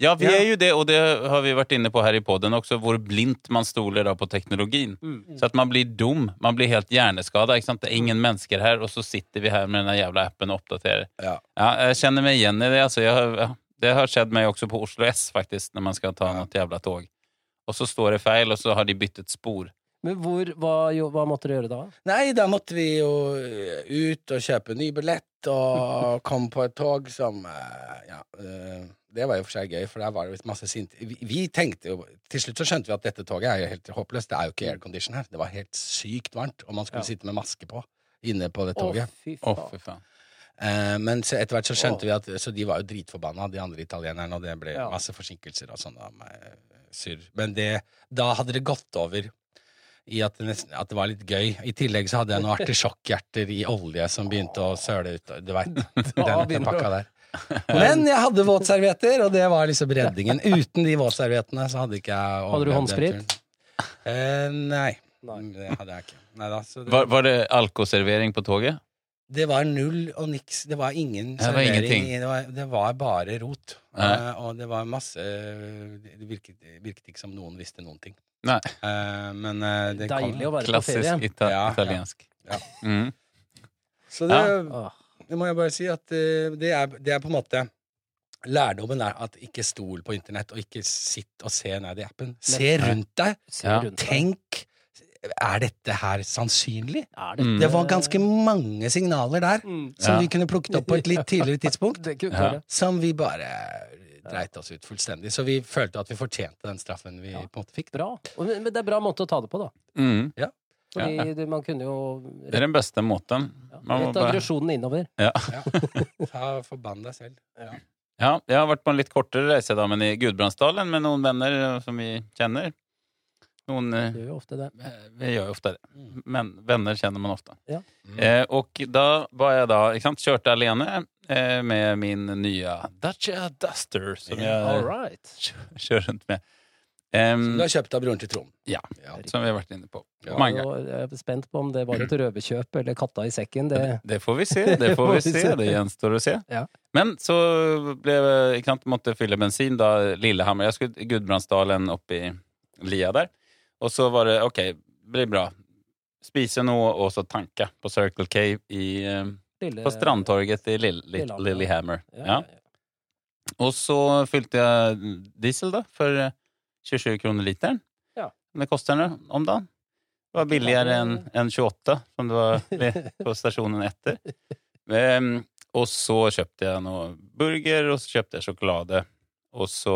S3: Ja, vi
S1: Ja.
S3: är ju det och det har vi varit inne på här i podden också, hvor blint man stoler då på teknologin.
S2: Mm.
S3: Så att man blir dum, man blir helt hjärneskadad. ikke sant? Det är ingen människor här och så sitter vi här med den här jävla appen och uppdaterar.
S1: Ja.
S3: Ja, jag känner mig igen i det. Alltså, jag, har- ja, det har skett mig också på Oslo S faktiskt, när man ska ta något jävla tåg. Och så står det fel och så har de bytt ett spår.
S2: Men hvor, hva, jo, hva måtte dere gjøre da?
S1: Nei, da måtte vi jo eh, ut og kjøpe ny billett og komme på et tog som eh, Ja, eh, det var jo for seg gøy, for der var det visst masse sinte vi, vi tenkte jo Til slutt så skjønte vi at dette toget er jo helt håpløst. Det er jo ikke aircondition her. Det var helt sykt varmt, og man skulle
S2: Ja.
S1: sitte med maske på inne på det
S2: Å,
S1: toget.
S2: fy
S3: Åh,
S2: faen.
S3: fy fan.
S1: Eh, men så etter hvert så skjønte
S2: Åh.
S1: vi at Så de var jo dritforbanna, de andre italienerne, og det ble
S2: Ja.
S1: masse forsinkelser og sånn eh, surr. Men det, da hadde det gått over i at det, nesten, at det var litt gøy. I tillegg så hadde jeg noen artisjokkhjerter i olje som begynte å søle ut, du veit. Den den pakka der. Men jeg hadde våtservietter, og det var liksom redningen. Uten de våtserviettene så hadde ikke jeg
S2: Hadde du
S1: overlevd den
S2: håndsprit?
S1: turen. Eh, nei.
S3: Mm,
S2: Nei.
S1: Det hadde jeg ikke. Neida, så det,
S3: Var, var det alkoservering på tåget?
S1: det var null og niks. Det var ingen
S3: Det var
S1: servering.
S3: ingenting.
S1: Det var, det var bare rot.
S3: Nei.
S1: Eh, og det var masse Det virket, virket ikke som noen visste noen ting.
S3: Nei.
S1: Eh, men eh, det
S2: Deilig å
S1: kom.
S2: være på
S3: Klassisk
S2: ferie.
S3: ita
S1: Ja, ja.
S3: italiensk.
S1: Ja.
S3: Mm.
S1: Så det,
S2: Åh.
S1: det må jeg bare si at eh, det er, det er på en måte Lærdommen er at ikke stol på internett, og ikke sitt og se ned i appen. Se rundt deg.
S2: Se
S3: Ja.
S2: rundt deg.
S1: Tenk. Er dette her sannsynlig?
S2: Er
S3: Mm.
S1: Det var ganske mange signaler der
S2: Mm.
S1: som
S3: Ja.
S1: vi kunne plukket opp på et litt tidligere tidspunkt.
S2: Det kunne
S3: Ja.
S2: være.
S1: Som vi bare dreit oss ut fullstendig. Så vi følte at vi fortjente den straffen vi
S2: Ja.
S1: på en måte fikk. da.
S2: Bra. Og- Men men det er bra måte å ta det på, da.
S3: Mm.
S2: Fordi
S3: Ja.
S2: det- man kunne jo
S3: Det är den bästa måten. Man må
S2: Rett
S3: bare-
S2: aggresjonen innover.
S1: Ta Forbann deg selv.
S3: Ja, jeg har vært på en litt kortere reise da, men i Gudbrandsdalen med noen venner eh, som vi kjenner. Noen, eh,
S2: Gjør jo ofte det.
S3: vi gjør jo ofte det, men venner kjenner man ofte.
S2: Mm. Ja.
S3: Eh, og da var jeg da, ikke sant, kjørte alene eh, med min nye Dacia Duster, som
S2: All
S3: jeg
S2: right.
S3: kjører rundt med. Em, Mm.
S1: Som du har kjøpt av broren til Trond.
S3: Ja.
S1: ja.
S3: som vi har vært inne på.
S1: Ja.
S3: Mange.
S2: Og Jeg er spent på om det var et røverkjøp eller katta i sekken. Det,
S3: Det får vi se, det får vi se, det gjenstår å se.
S2: Ja.
S3: Men så ble, ikke sant, måtte jeg fylle bensin da, Lillehammer. Jeg skulle Gudbrandsdalen opp i lia der. Og så var det, ok, det blir bra. Spise noe, og så tanke på Circle K i, eh,
S2: lille,
S3: på Strandtorget i Lill- Lill- Lillehammer.
S2: Lillehammer. Ja,
S3: Ja. Og så fylte jeg diesel da, for eh, 27 kroner literen.
S2: Ja.
S3: Det koster nå om dagen. Det var billigere enn enn 28, som det var ved- på stasjonen etter. Ehm, og så kjøpte jeg noe burger, og så kjøpte jeg sjokolade. Og så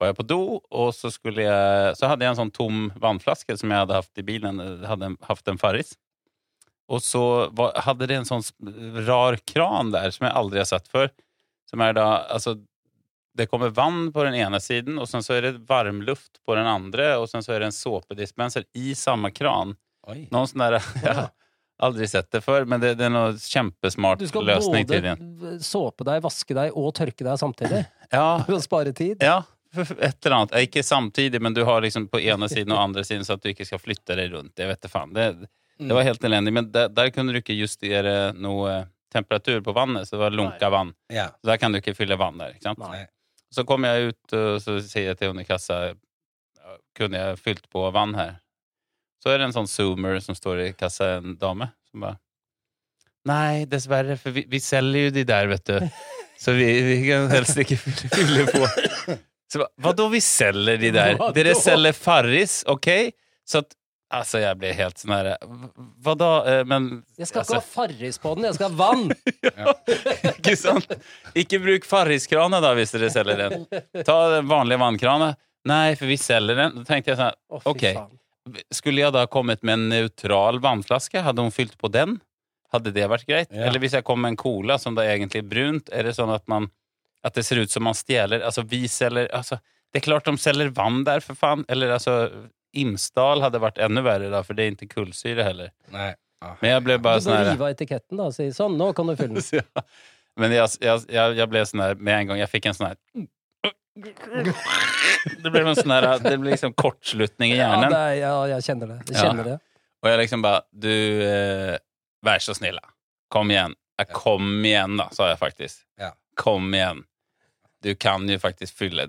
S3: var jeg på do, og så, skulle jeg, så hadde jeg en sånn tom vannflaske som jeg hadde haft i bilen. Jeg hadde en- haft en Farris. Og så var, hadde det en sånn s- rar kran der som jeg aldri har sett før. Som er da Altså, det kommer vann på den ene siden, og sen så er det varmluft på den andre, og sen så er det en såpedispenser i samme kran.
S1: Oi.
S3: Noen sånn der Jeg har aldri sett det før, men det, det er noe kjempesmart
S2: Du skal
S3: løsning,
S2: både
S3: tydelig.
S2: såpe deg, vaske deg og tørke deg samtidig.
S3: Ja,
S2: For å spare tid.
S3: Ja, et eller annet. Ikke samtidig, men du har liksom på ene siden og andre siden, så at du ikke skal flytte deg rundt. Jeg vet det faen. Det, det
S2: Mm.
S3: var helt elendig, men der, der kunne du ikke justere noe temperatur på vannet, så det var lunka vann.
S1: Ja.
S3: Så der kan du ikke fylle vann der, ikke sant?
S2: Nei.
S3: Så kom jeg ut, og så sier jeg til henne i kassa, "Ja, kunne jeg fylt på vann her? Så er det en sånn zoomer som står i kassa, en dame, som bare, nei, dessverre, for vi, vi selger jo de der, vet du. Så vi, vi kan helst ikke fylle, fylle på. Så bare, hva da vi selger de der?
S2: Vadå?
S3: Dere selger Farris, ok? Så at, altså, jeg blir helt sånn her, hva da? Eh, Men,
S2: Jeg skal ikke
S3: altså,
S2: ha Farris på den, jeg skal ha vann!
S3: ikke sant? Ikke bruk farriskrana da, hvis dere selger den. Ta den vanlige vannkrana. Nei, for vi selger den. Da tenkte jeg sånn,
S2: Å, fy
S3: Ok.
S2: faen.
S3: skulle jeg da kommet med en neutral vannflaske? Hadde hun fylt på den? Hadde det vært greit?
S1: Ja.
S3: Eller hvis jeg kom med en cola som da egentlig er brunt, er det sånn at man at det ser ut som man stjeler? Altså, vi selger altså, Det er klart de selger vann der, for faen! Eller altså Imsdal hade varit ännu värre idag för det är inte kullsyra heller.
S1: Nei. Ah. Ja.
S3: Men jag blev bara
S2: du
S3: sån
S2: bør
S3: här...
S2: rive av etiketten da, og si sånn, nå kan du fylle den.
S3: Ja. Men jag, jag, jag, jag blev sån här sånn med en gång, jag fick en sån här... Det blev en sån här, det blev liksom kortslutning i
S2: Ja,
S3: hjärnan.
S2: det er, ja, jag känner det. Jag
S3: Ja.
S2: känner det.
S3: Och jag liksom bara, du, eh, vär så snälla. Kom igen. Ja, kom igen då, sa jag faktiskt.
S1: Ja.
S3: Kom igen. Du kan ju faktiskt fylla,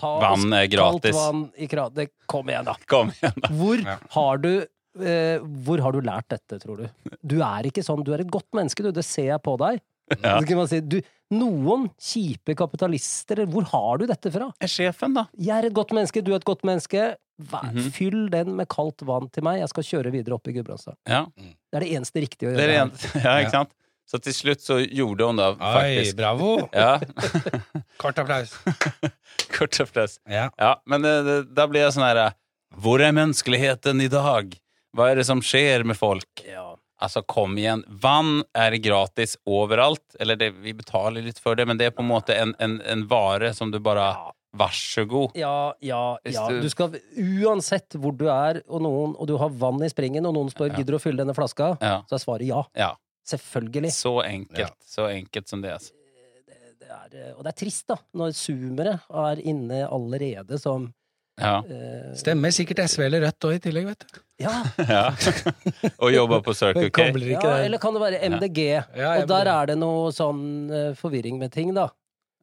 S2: Ta
S3: vann är
S2: kaldt
S3: gratis.
S2: vann i kran. Det, kom igjen, da.
S3: Kom igen då.
S2: Hvor
S1: Ja.
S2: har du eh, hvor har du lært dette, tror du? Du er ikke sånn, du er et godt menneske, du. Det ser jeg på deg.
S3: Ja.
S2: Så kan man si, du, noen kjipe kapitalister, hvor har du dette fra?
S3: Är chefen då?
S2: Jeg er et godt menneske, du er et godt menneske. Vær,
S3: Mhm.
S2: Fyll den med kaldt vann til meg, jeg skal kjøre videre opp i Gudbrandsdalen.
S3: Ja,
S2: Det er det eneste riktige å
S3: det är
S2: gjøre. her.
S3: rent. Ja, exakt. Så till slut så gjorde hon det
S1: Oi,
S3: faktiskt.
S1: bravo!
S3: Ja,
S1: Kort applaus.
S3: kort applaus.
S1: Ja.
S3: Ja, men eh, det- da blir jeg sånn her eh, Hvor er menneskeligheten i dag? Hva er det som skjer med folk?
S2: Ja.
S3: Altså, kom igjen. Vann er gratis overalt. Eller det, vi betaler litt for det, men det er på en måte en, en, en vare som du bare Vær så god.
S2: Ja, ja,
S3: Hvis
S2: ja.
S3: du-
S2: Du skal, uansett hvor du er, og, noen, og du har vann i springen, og noen spør
S3: Ja.
S2: gidder du å fylle denne flaska,
S3: Ja.
S2: så er svaret ja.
S3: ja.
S2: Selvfølgelig.
S3: Så enkelt.
S1: Ja.
S3: Så enkelt som det er. altså.
S2: Det er, eh, og det er trist, da, når zoomere er inne allerede som
S3: Ja.
S2: eh,
S1: Stemmer sikkert SV eller Rødt òg i tillegg, vet du.
S2: ja,
S3: ja. Og jobba på Circle K.
S1: Kobler ikke
S2: ja,
S1: det.
S2: eller kan det være MDG?
S1: Ja,
S2: og der
S1: MDG.
S2: er det noe sånn eh, forvirring med ting, da.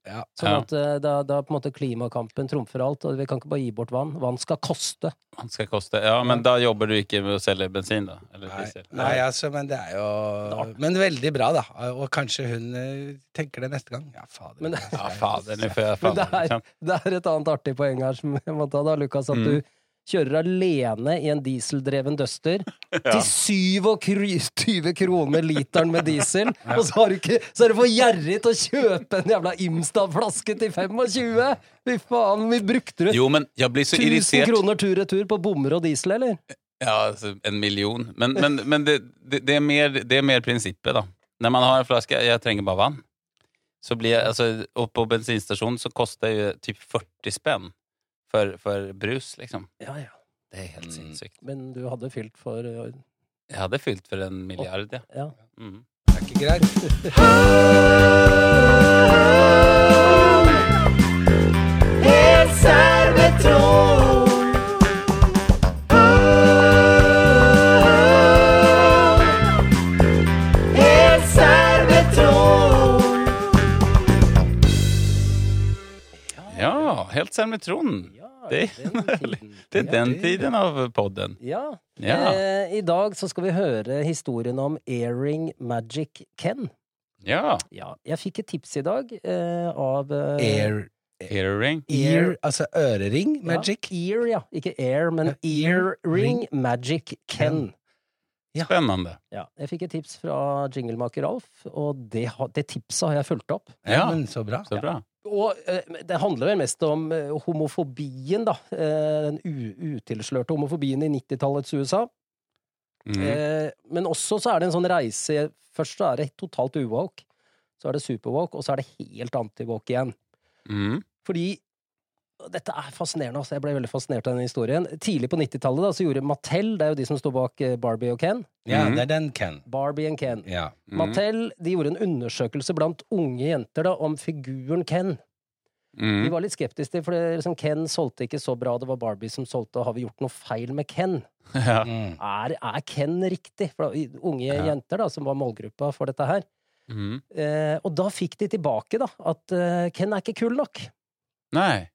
S1: Ja.
S2: Sånn
S3: Ja.
S2: at eh, da, da på en måte klimakampen trumfer alt, og vi kan ikke bare gi bort vann. Vann skal koste.
S3: Han skal koste. Ja, men da jobber du ikke med å selge bensin, da? Eller
S1: Nei,
S3: diesel?
S1: nei, altså, men det er jo Men veldig bra, da. Og kanskje hun eh, tenker det neste gang. Ja, fader.
S2: Men-
S1: altså,
S3: Ja,
S1: jeg-
S3: fader, nå får jeg
S2: Men det
S3: faen liksom.
S2: er, det er et annet artig poeng her som jeg må ta, da, Lukas. At
S3: Mm.
S2: du kjører alene i en dieseldreven Duster til 27 kroner literen med diesel, og så, har du ikke, så er du for gjerrig til å kjøpe en jævla Imstad-flaske til 25! Fy faen, vi brukte det!
S3: Jo, men jeg blir så
S2: 1000
S3: irritert.
S2: kroner tur-retur på bommer og diesel, eller?
S3: Ja, altså, en million. Men, men, men det, det, det, er mer, det er mer prinsippet, da. Når man har en flaske Jeg trenger bare vann. Så blir jeg, altså, og på bensinstasjonen så koster det jo typ 40 spenn for, for brus, liksom.
S2: Ja, ja.
S3: Det er helt sinnssykt.
S2: Men du hadde fylt for eh,
S3: Jeg hadde fylt for en milliard, ja.
S2: Ja.
S3: Mm.
S1: Det er ikke greit.
S3: Ja, helt Sermetron.
S2: Ja,
S3: Det er-
S2: den tiden.
S3: Det er den tiden av podden.
S2: Ja.
S3: Ja.
S2: Eh, I dag så skal vi høre historien om Airing Magic Ken.
S3: ja.
S2: Ja, jeg fikk et tips i dag eh, av eh,
S1: Air,
S3: Earring.
S1: ear, altså ørering, magic.
S2: Ja, ear, ja. Ikke air, men Earring Magic Ken.
S3: Spennende.
S2: Ja, jeg fikk et tips fra jinglemaker Alf, og det, har- det tipset har jeg fulgt opp.
S3: Ja.
S1: Men så bra.
S3: Så bra.
S2: Og eh, det handler vel mest om eh, homofobien, da. Eh, den u- utilslørte homofobien i 90-tallets USA.
S3: Mm.
S2: Eh, men også så er det en sånn reise Først så er det totalt uwoke, så er det superwoke, og så er det helt antiwoke igjen.
S3: Mm.
S2: Fordi og dette er fascinerende. altså. Jeg ble veldig fascinert av denne historien. Tidlig på 90-tallet da, så gjorde Mattel Det er jo de som står bak eh, Barbie og Ken.
S1: Ja,
S3: Mhm.
S1: det er den Ken.
S2: Barbie and Ken.
S1: Ja.
S3: Mm.
S2: Mattel de gjorde en undersøkelse blant unge jenter da, om figuren Ken. De
S3: Mm.
S2: var litt skeptiske, for det, liksom, Ken solgte ikke så bra. Det var Barbie som solgte. og Har vi gjort noe feil med Ken?
S3: Ja.
S1: Mm.
S2: Er, er Ken riktig? For da, i- unge
S3: Ja.
S2: jenter da, som var målgruppa for dette her.
S3: Mm.
S2: Eh, og da fikk de tilbake da, at eh, Ken er ikke kul nok.
S3: Nei.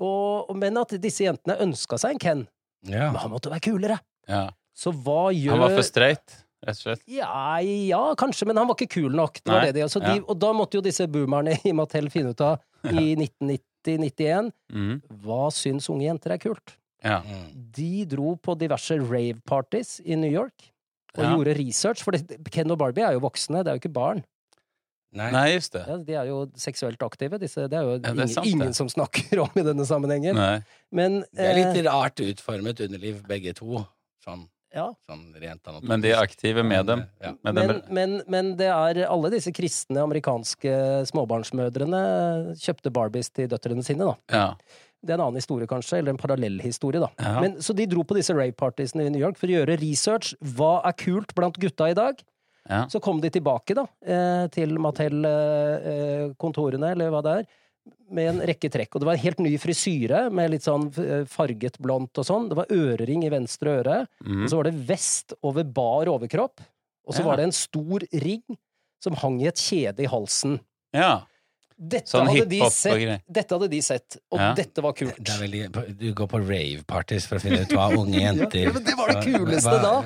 S2: Og, men at disse jentene ønska seg en Ken.
S1: Ja.
S2: Men han måtte være kulere!
S3: Ja.
S2: Så hva gjør
S3: Han var for streit, rett og slett.
S2: ja, ja, kanskje, men han var ikke kul nok. Det var
S3: Nei,
S2: det de, så de,
S3: ja.
S2: Og da måtte jo disse boomerne i Mattel finne ut av i 1990-91
S3: Mm.
S2: hva syns unge jenter er kult.
S3: Ja.
S1: Mm.
S2: De dro på diverse rave-parties i New York og
S3: Ja.
S2: gjorde research. For det, Ken og Barbie er jo voksne, det er jo ikke barn.
S1: Nei.
S3: Nei, just det.
S2: Ja, de er jo seksuelt aktive. Disse, det er jo
S3: det er
S2: ingen,
S3: sant, det.
S2: ingen som snakker om i denne sammenhengen.
S3: Nei.
S2: Men
S1: Det er
S2: eh,
S1: litt rart utformet underliv, begge to. Sånn,
S2: ja.
S1: sånn rent anatomisk.
S3: Men de er aktive med dem.
S1: Ja.
S3: Med dem.
S2: Men, men, men det er alle disse kristne amerikanske småbarnsmødrene kjøpte Barbies til døtrene sine, da.
S3: Ja.
S2: Det er en annen historie, kanskje, eller en parallellhistorie, da.
S3: Ja.
S2: Men, så de dro på disse rave-partiesene i New York for å gjøre research. Hva er kult blant gutta i dag?
S3: Ja.
S2: Så kom de tilbake, da, eh, til Mattel-kontorene, eller hva det er, med en rekke trekk. Og det var en helt ny frisyre, med litt sånn eh, farget blondt og sånn. Det var ørering i venstre øre.
S3: Mm.
S2: Og så var det vest over bar overkropp. Og så
S3: Ja.
S2: var det en stor ring som hang i et kjede i halsen.
S3: ja.
S2: Dette,
S3: Sånn
S2: hadde, de
S3: hiphop og
S2: sett,
S3: greier.
S2: dette hadde de sett, og
S3: Ja.
S2: dette var kult.
S1: Det er veldig, du går på rave-parties for å finne ut hva unge jenter
S2: Ja, men det var det
S1: Hva-
S2: kuleste
S1: hva-
S2: da!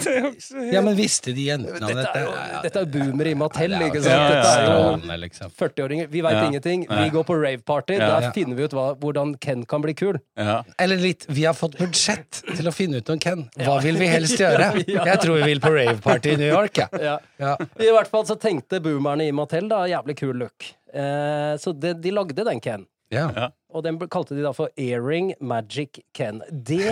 S1: Ja, men visste de jentene om
S2: Dette
S1: dette?
S2: er jo,
S1: Ja, ja,
S2: dette er jo boomer i Mattel,
S1: det er jo
S2: ikke sant?
S3: Ja, ja,
S2: Dette er jo
S3: ja.
S1: strålende, liksom.
S2: 40-åringer. Vi veit
S3: Ja.
S2: ingenting.
S3: Ja.
S2: Vi går på rave-party.
S3: Ja.
S2: Der
S1: Ja.
S2: finner vi ut hva, hvordan Ken kan bli kul.
S3: ja.
S1: Eller litt Vi har fått budsjett til å finne ut om Ken. Hva vil vi helst gjøre? Jeg tror vi vil på rave-party i New York, jeg.
S2: Ja.
S1: Ja.
S2: I hvert fall så tenkte boomerne i Mattel da jævlig kul look. Eh, så det, de lagde den Ken.
S1: Ja.
S2: Og den ble- kalte de da for Earring Magic Ken. Det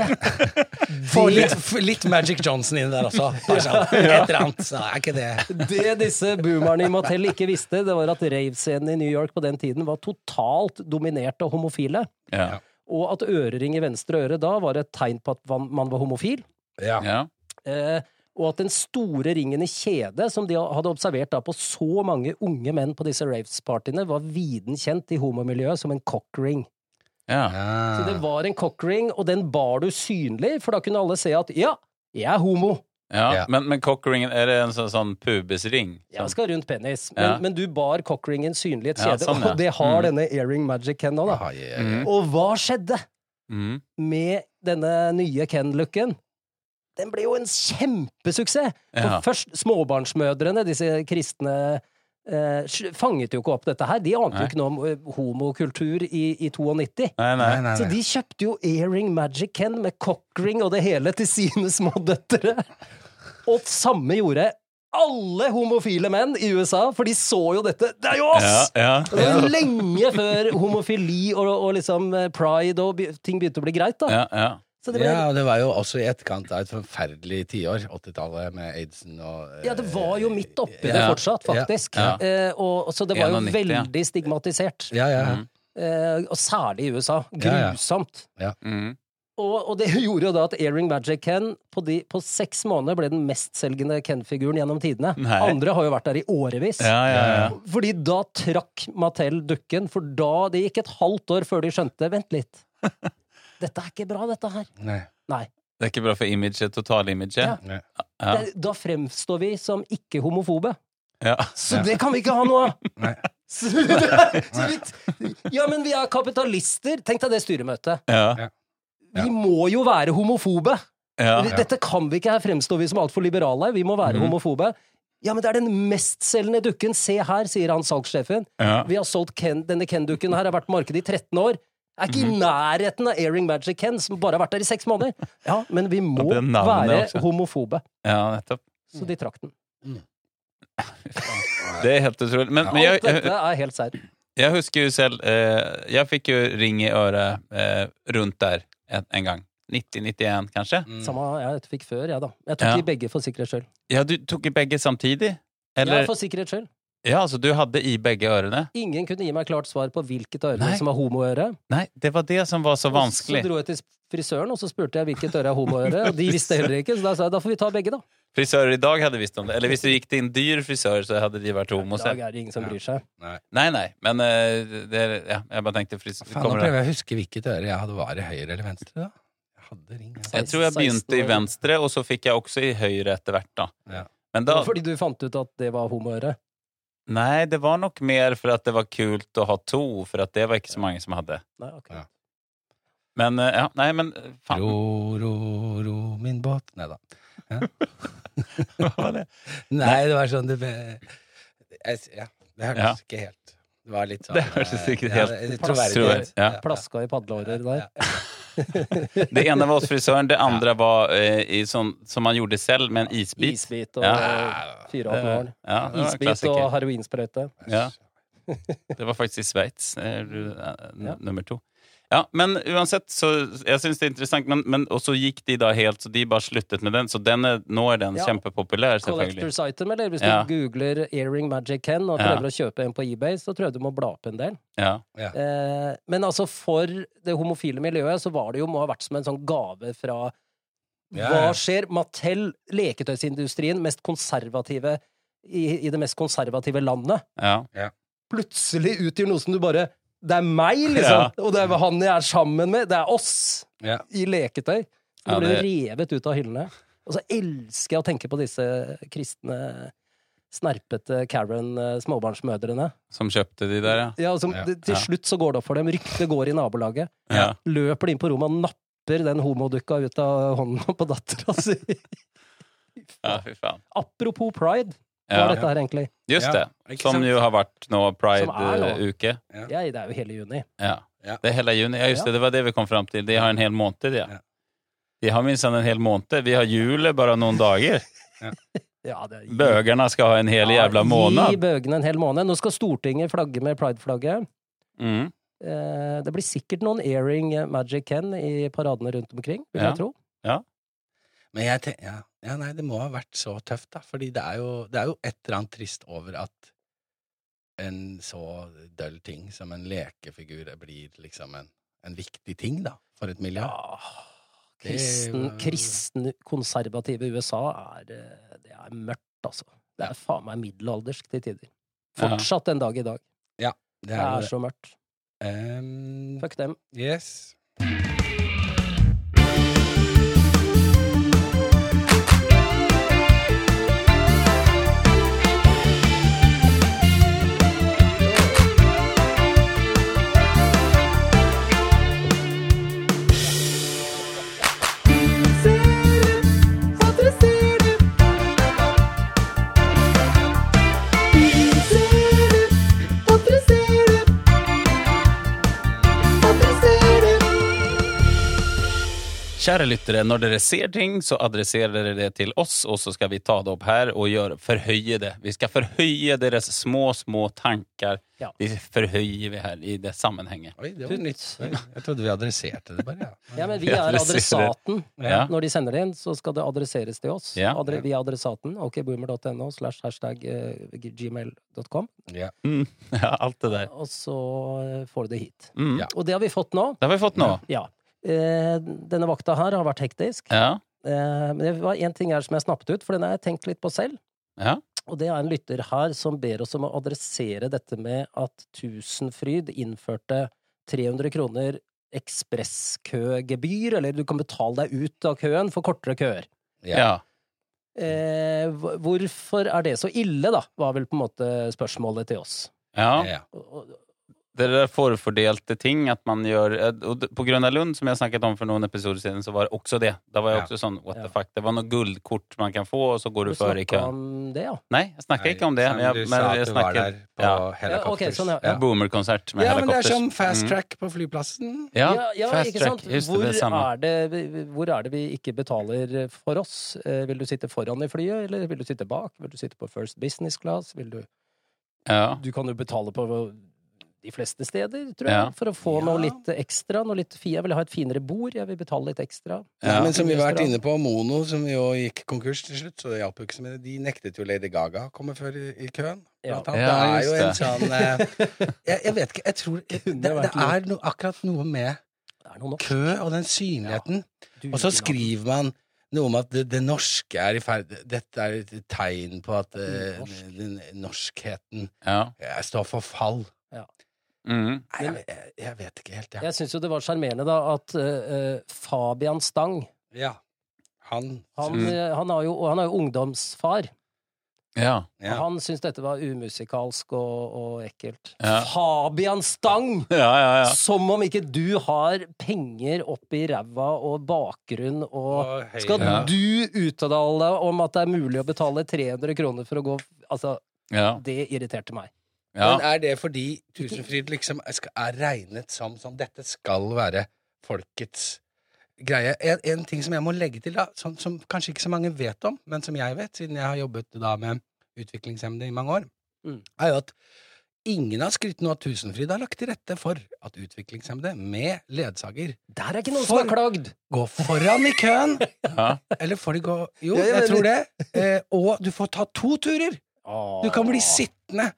S1: Få litt, f- litt Magic Johnson inn der også. Bare sånn, Et eller annet. Så er ikke det
S2: Det disse boomerne i Mattel ikke visste, det var at rave-scenen i New York på den tiden var totalt dominert av homofile.
S3: Ja.
S2: Og at ørering i venstre øre da var et tegn på at van- man var homofil.
S1: Ja.
S3: ja.
S2: Eh, og at den store ringen i kjede, som de hadde observert da på så mange unge menn på disse raves-partyene, var viden kjent i homomiljøet som en cockring.
S3: ja.
S2: Så det
S1: Ah.
S2: var en cockring, og den bar du synlig, for da kunne alle se at ja, jeg er homo.
S3: Ja,
S1: Ja.
S3: men, men cockringen, er det en sånn, sånn pubisring?
S2: Jeg
S3: Sånn-
S2: skal ha rundt penis, men,
S3: Ja.
S2: men du bar cockringen synlig i et
S3: Ja,
S2: kjede,
S3: sånn, ja.
S2: og det har
S3: Mm.
S2: denne earring magic Ken nå, da.
S1: Ah, ja, ja.
S3: Mm.
S2: Og hva skjedde
S3: Mm.
S2: med denne nye Ken-looken? Den ble jo en kjempesuksess! For
S3: Ja.
S2: først småbarnsmødrene, disse kristne eh, sj- fanget jo ikke opp dette her. De ante
S3: Nei.
S2: jo ikke noe om eh, homokultur i, i 92.
S3: Nei, nei.
S1: Nei, nei,
S2: Så
S1: nei.
S2: de kjøpte jo Earring Magic Ken med cockring og det hele til sine små døtre. Og samme gjorde alle homofile menn i USA, for de så jo dette. Det er jo oss!
S3: Ja, ja.
S2: Det var jo lenge før homofili og, og liksom eh, pride og be- ting begynte å bli greit, da.
S3: Ja, ja.
S2: Så det ble,
S1: Ja, og det var jo også i etterkant av et forferdelig tiår, 80-tallet, med aidsen og eh,
S2: ja, det var jo midt oppi det
S1: ja.
S2: fortsatt, faktisk.
S3: Ja.
S2: Eh, og, og så det var jo
S3: 91, ja.
S2: veldig stigmatisert.
S1: Ja, ja.
S3: Mm.
S2: Eh, og særlig i USA.
S1: Ja, ja.
S2: Grusomt.
S3: Mm.
S2: Og, og det gjorde jo da at Earring Magic Ken på, de, på seks måneder ble den mestselgende Ken-figuren gjennom tidene.
S3: Nei.
S2: Andre har jo vært der i årevis.
S3: ja, ja, ja.
S2: Fordi da trakk Mattel dukken, for da det gikk et halvt år før de skjønte Vent litt. Dette er ikke bra, dette her.
S1: Nei.
S2: Nei.
S3: Det er ikke bra for imaget, totalimaget.
S2: Ja.
S1: Nei.
S3: Ja.
S2: Det, da fremstår vi som ikke-homofobe.
S3: Ja.
S2: Så det kan vi ikke ha noe av!
S1: Nei.
S2: Så det- så vi- Ja, men vi er kapitalister! Tenk deg det styremøtet.
S3: Ja.
S2: Vi må jo være homofobe!
S3: Ja. Mhm.
S2: Vi- Dette kan vi ikke her fremstå vi som altfor liberale. Vi må være homofobe. Ja, men det er den mestselgende dukken! Se her, sier han salgssjefen.
S3: Ja.
S2: Vi har solgt Ken, denne Ken-dukken her, har vært på markedet i 13 år. Er ikke
S3: Mhm.
S2: i nærheten av Airing Magic Ken, som bare har vært der i seks måneder. Ja, men vi må
S3: det er navnet
S2: være
S3: også.
S2: homofobe.
S3: ja, nettopp.
S2: Så de trakk den.
S3: Det er helt utrolig. Men, men jeg,
S2: Alt dette er helt serr.
S3: Jeg husker jo selv eh, Jeg fikk jo ring i øret eh, rundt der en, en gang. 90-91, kanskje?
S2: Samme jeg fikk før, jeg, da. Jeg tok
S3: Mm. Ja.
S2: de begge for sikkerhets skyld.
S3: Ja, du tok i begge samtidig?
S2: Ja,
S3: Eller
S2: for sikkerhets skyld.
S3: Ja, altså, du hadde i begge ørene?
S2: Ingen kunne gi meg klart svar på hvilket øre
S3: Nei.
S2: som var homoøre.
S3: Nei, det var det som var så
S2: Og Så
S3: vanskelig.
S2: dro jeg til frisøren, og så spurte jeg hvilket øre er homoøre, og de visste heller ikke, så da sa jeg da får vi ta begge, da.
S3: Frisører i dag hadde visst om det. Eller hvis du gikk til en dyr frisør, så hadde de vært homo
S2: I dag
S3: selv.
S2: er det ingen som bryr seg.
S3: Nei, nei, men eh, det er, ja, jeg bare tenkte frisør
S1: Faen, nå
S3: kommer det.
S1: prøver jeg å huske hvilket øre jeg hadde. Var det høyre eller venstre, da? Jeg hadde ring. altså. jeg.
S3: Jeg tror jeg
S2: 16
S3: begynte i
S2: år.
S3: venstre, og så fikk jeg også i høyre etter hvert, da.
S1: Ja.
S3: Men da
S2: Fordi du fant ut at det var homoøre.
S3: Nei, det var nok mer for at det var kult å ha to, for at det var ikke så mange som hadde.
S2: Nei, ok.
S1: Ja.
S3: Men eh, ja, nei, men eh, faen.
S1: Ro, ro, ro min båt Nei da.
S3: Hva var det?
S1: Nei, det var sånn det ble jeg, s- ja, Det hørtes
S3: Ja.
S1: ikke helt Det var litt sånn
S3: Det hørtes ikke
S1: eh,
S3: helt-
S1: ja, det-
S2: Plass-
S1: troverdig ut.
S3: ja.
S2: Plaska i
S1: Ja,
S2: padleårer der.
S1: ja.
S3: Det ene var hos frisøren, det andre var eh, i sånn som man gjorde selv, med en isbit.
S2: Isbit og
S3: Ja.
S2: 4,5
S3: Eh,
S2: år.
S3: Ja, det var en
S2: Isbit og
S3: klassiker.
S2: heroinsprøyte.
S3: Ja. Det var faktisk i Sveits, eh, ru- eh, n-
S2: Ja.
S3: nummer to. Ja, men uansett, så jeg syns det er interessant. Men, men, og så gikk de da helt, så de bare sluttet med den. Så den er, nå er den
S2: Ja.
S3: kjempepopulær, selvfølgelig.
S2: Collectors item, eller hvis
S3: Ja.
S2: du googler Earring Magic Ken og
S3: Ja.
S2: prøver å kjøpe en på eBay, så tror jeg du må bla opp en del.
S3: Ja.
S2: Eh, men altså, for det homofile miljøet så var det jo må ha vært som en sånn gave fra
S1: Ja,
S2: Hva
S1: ja.
S2: skjer? Mattel, leketøysindustrien, mest konservative i, i det mest konservative landet,
S3: ja.
S2: plutselig utgjør noe som du bare Det er meg, liksom! Og det er han jeg er sammen med! Det er oss!
S1: Ja.
S2: I leketøy. Så
S3: Ja,
S2: det ble
S3: det-
S2: revet ut av hyllene. Og så elsker jeg å tenke på disse kristne, snerpete eh, Karen-småbarnsmødrene.
S3: Som kjøpte de der, ja.
S2: Ja, som,
S1: Ja.
S2: det- Til
S3: Ja.
S2: slutt så går det opp for dem. Ryktet går i nabolaget.
S3: ja.
S2: Løper de inn på rommet og napper den homodukka ut av hånden på dattera si.
S3: Ja, fy faen.
S2: Apropos pride, hva er
S3: Ja.
S2: dette her egentlig?
S3: Just
S1: Ja,
S3: det.
S1: ikke
S3: Som
S1: sant?
S3: jo har vært nå eh,
S2: Som er nå.
S3: pride-uke.
S2: Jeg, det er jo hele juni.
S3: Ja.
S1: Ja.
S3: Det er hele juni. Ja, just det. Det var det vi kom fram til. De har en hel måned, ja.
S1: Ja.
S3: De har minsann en hel måned. Vi har julet bare noen dager.
S2: Ja, det er-
S3: Bøgerne skal ha en hel jævla
S2: Gi
S3: måned.
S2: bøgene en hel måned. Nå skal Stortinget flagge med prideflagget.
S3: Mm.
S2: Eh, det blir sikkert noen airing eh, Magic Ken i paradene rundt omkring, vil
S3: Ja.
S2: jeg tro.
S1: Men jeg tenker ja, ja, nei, det må ha vært så tøft, da. Fordi det er jo, det er jo et eller annet trist over at en så døll ting som en lekefigur blir liksom en, en viktig ting, da. For et miljø. Det er
S2: Kristen,
S1: jo-
S2: kristen konservative USA er eh, Det er mørkt, altså. Det er faen meg middelaldersk til tider.
S3: Ja.
S2: Fortsatt den dag i dag.
S1: Det
S2: Det
S1: er jo
S2: er
S1: det.
S2: så mørkt.
S1: Em,
S2: Fuck dem.
S1: yes.
S3: Kjære lyttere, når dere ser ting, så adresserer dere det til oss, og så skal vi ta det opp her og gjøre, forhøye det. Vi skal forhøye deres små, små tanker.
S2: Ja.
S3: Vi forhøyer vi her i det sammenhenget.
S1: Oi, det var nytt. Oi, Jeg trodde vi adresserte det bare, ja.
S2: Ja, men vi
S3: Vi
S2: er
S3: adresserer.
S2: adressaten.
S3: Ja.
S2: Når de sender det inn, så skal det adresseres til oss.
S3: Ja.
S2: Adre via adressaten. Okboomer.no slash hashtag eh, gmail.com.
S1: Ja.
S3: Mm. Ja, alt det der.
S2: Og så eh, får du det hit.
S3: Mm.
S1: Ja.
S2: Og det har vi fått nå.
S3: Det har vi fått nå.
S2: Ja. Eh, denne vakta her har vært hektisk.
S3: Ja.
S2: Eh, men det var én ting her som jeg snappet ut, for den har jeg tenkt litt på selv.
S3: Ja.
S2: Og det er en lytter her som ber oss om å adressere dette med at Tusenfryd innførte 300 kroner ekspresskøgebyr, eller du kan betale deg ut av køen for kortere køer.
S1: Ja.
S3: ja.
S2: Eh, hv- hvorfor er det så ille, da? var vel på en måte spørsmålet til oss.
S3: ja.
S1: Ja.
S2: Og- og-
S3: Det der forfordelte ting at man gjør Og det- på Grønna Lund, som jeg snakket om for noen episoder siden, så var det også det. Da var jeg
S1: Ja.
S3: også sånn what the
S2: Ja.
S3: fuck. Det var noe gullkort man kan få, og så går du, före i
S2: snakket
S3: køen.
S2: om det, ja.
S3: Nei, jeg snakker
S1: Nei,
S3: ikke om det.
S1: Sam,
S3: Men jeg,
S1: du
S3: men
S1: sa at
S3: jeg
S1: du var
S3: snakker
S1: der på
S3: Ja.
S1: helikopters.
S2: Ja, ok, sånn, ja.
S1: ja.
S3: Boomer-konsert med
S1: Ja, men det er
S3: helikopters.
S1: som fast
S3: Mm.
S1: track på flyplassen.
S3: Ja,
S2: Ja, ja,
S3: fast
S2: ikke
S3: track.
S2: sant?
S3: Just det,
S2: hvor,
S3: det er samme.
S2: er det, hvor er det vi ikke betaler for oss? Eh, Vil du sitte foran i flyet, eller vil du sitte bak? Vil du sitte på first business class? Vil du,
S3: Ja.
S2: du kan jo betale på de fleste steder, tror jeg,
S3: Ja.
S2: for å få
S1: Ja.
S2: noe litt ekstra. Noe litt fi. Jeg vil ha et finere bord, jeg vil betale litt ekstra.
S1: Nei,
S3: Ja.
S1: men som vi har vært inne på, Mono, som jo gikk konkurs til slutt, så det hjalp jo ikke så mye, de nektet jo Lady Gaga å komme før i, i køen.
S2: Ja.
S1: Blant annet.
S3: Ja,
S1: det er jo en
S3: just
S1: sånn eh, jeg, jeg vet ikke, jeg tror Det, det
S2: vært noe.
S1: er no, akkurat noe med
S2: Det er noe nok.
S1: kø og den synligheten.
S2: Du-
S1: Og så skriver man noe om at det, det norske er i ferd Dette er et tegn på at eh,
S2: Norsk.
S1: den norskheten
S3: Ja.
S1: eh, står for fall.
S3: Mm.
S1: Nei, jeg, jeg, jeg vet ikke helt, jeg.
S2: Jeg syns jo det var sjarmerende, da, at eh, eh, Fabian Stang
S1: Ja. Han,
S2: han,
S3: Mm.
S2: eh, han, har jo, og han er jo ungdomsfar.
S3: ja.
S1: ja.
S2: Han syntes dette var umusikalsk og, og ekkelt.
S3: Ja.
S2: Fabian Stang!
S3: Ja, ja, ja.
S2: Som om ikke du har penger oppi ræva og bakgrunn og
S1: Og
S2: Skal
S1: Høyre.
S2: du uttale deg om at det er mulig å betale 300 kroner for å gå Altså,
S3: ja.
S2: det irriterte meg.
S1: Men äh,
S3: ja.
S1: er det fordi Tusenfryd liksom skal- er regnet som som dette skal være folkets greie? En, en ting som jeg må legge til, da, som, som kanskje ikke så mange vet om, men som jeg vet, siden jeg har jobbet da med utviklingshemmede i mange år,
S2: Mm.
S1: er jo at Ingen av skrittene av Tusenfryd har lagt til rette for at utviklingshemmede med ledsager
S2: Der er ikke noen som har
S1: For-
S2: klagd!
S1: går foran i køen!
S3: Ja.
S1: Eller får de gå Jo,
S2: Ja, jeg
S1: jeg tror det.
S2: mener-
S1: Eh, og du får ta to turer! Du kan bli sittende.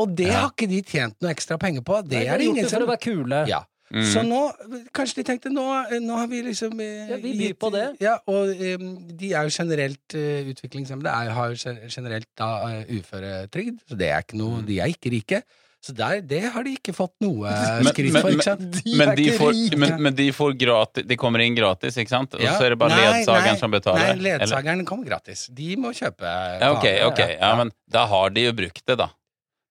S1: Og det
S3: Ja.
S1: har ikke de tjent noe ekstra penger på. Det
S2: Nei,
S1: er det
S2: gjort
S1: ingen
S2: for
S1: som
S2: å være kule.
S1: Ja.
S3: Mm.
S1: Så nå, kanskje de tenkte nå, nå har vi liksom eh,
S2: Ja, vi byr
S1: gitt-
S2: på det.
S1: Ja, og em, de er jo generelt eh, utviklingshemmede, er, har jo gen- generelt da eh, uføretrygd, så det er ikke noe,
S3: Mm.
S1: de er ikke rike. Så der, det har de ikke fått noe eh,
S3: Men-
S1: skritt
S3: men-
S1: for,
S3: men-
S1: ikke sant?
S3: Men de, får, men, men de får gratis De kommer inn gratis, ikke sant? Og
S1: Ja.
S3: så er det bare
S1: Nei, nei,
S3: ledsageren som betaler?
S1: Nei,
S3: eller?
S1: ledsageren kommer gratis. De må kjøpe
S3: Ja, ok,
S1: varer.
S3: ok. Ja, men da har de jo brukt det, da.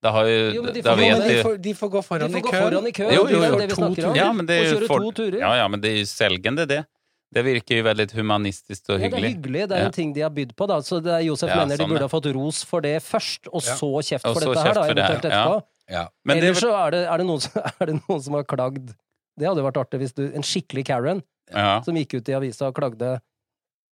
S3: Da har jo,
S2: Jo, men de
S3: Da
S2: får-
S1: Jo, men
S3: vet
S1: de,
S3: de
S1: får, de får gå
S2: De
S1: foran
S2: får
S1: i
S2: gå
S1: køen.
S2: foran i køen,
S3: Jo, jo,
S2: det er
S3: jo.
S2: det vi
S1: To
S2: snakker om.
S1: turer.
S3: Ja, men det er
S2: og
S3: jo
S2: kjøre
S3: for-
S2: to turer.
S3: Ja, ja, men det er jo selgende, det. Det virker jo veldig humanistisk og
S2: Ja, det er
S3: hyggelig.
S2: hyggelig, det er
S3: Ja.
S2: jo ting de har bydd på, da. Så det er Josef
S3: Ja,
S2: mener de
S3: sånn
S2: burde
S3: det.
S2: ha fått ros for det først, og
S1: Ja.
S2: så kjeft
S3: Og
S2: for
S3: så
S2: dette her,
S3: kjeft
S2: da,
S3: for det,
S2: eventuelt
S3: ja.
S2: etterpå.
S1: Ja.
S3: Men det,
S2: Ellers så er det, er, det noen som, er det noen som har klagd. Det hadde jo vært artig hvis du En skikkelig Karen
S3: ja.
S2: som gikk ut i avisa og klagde.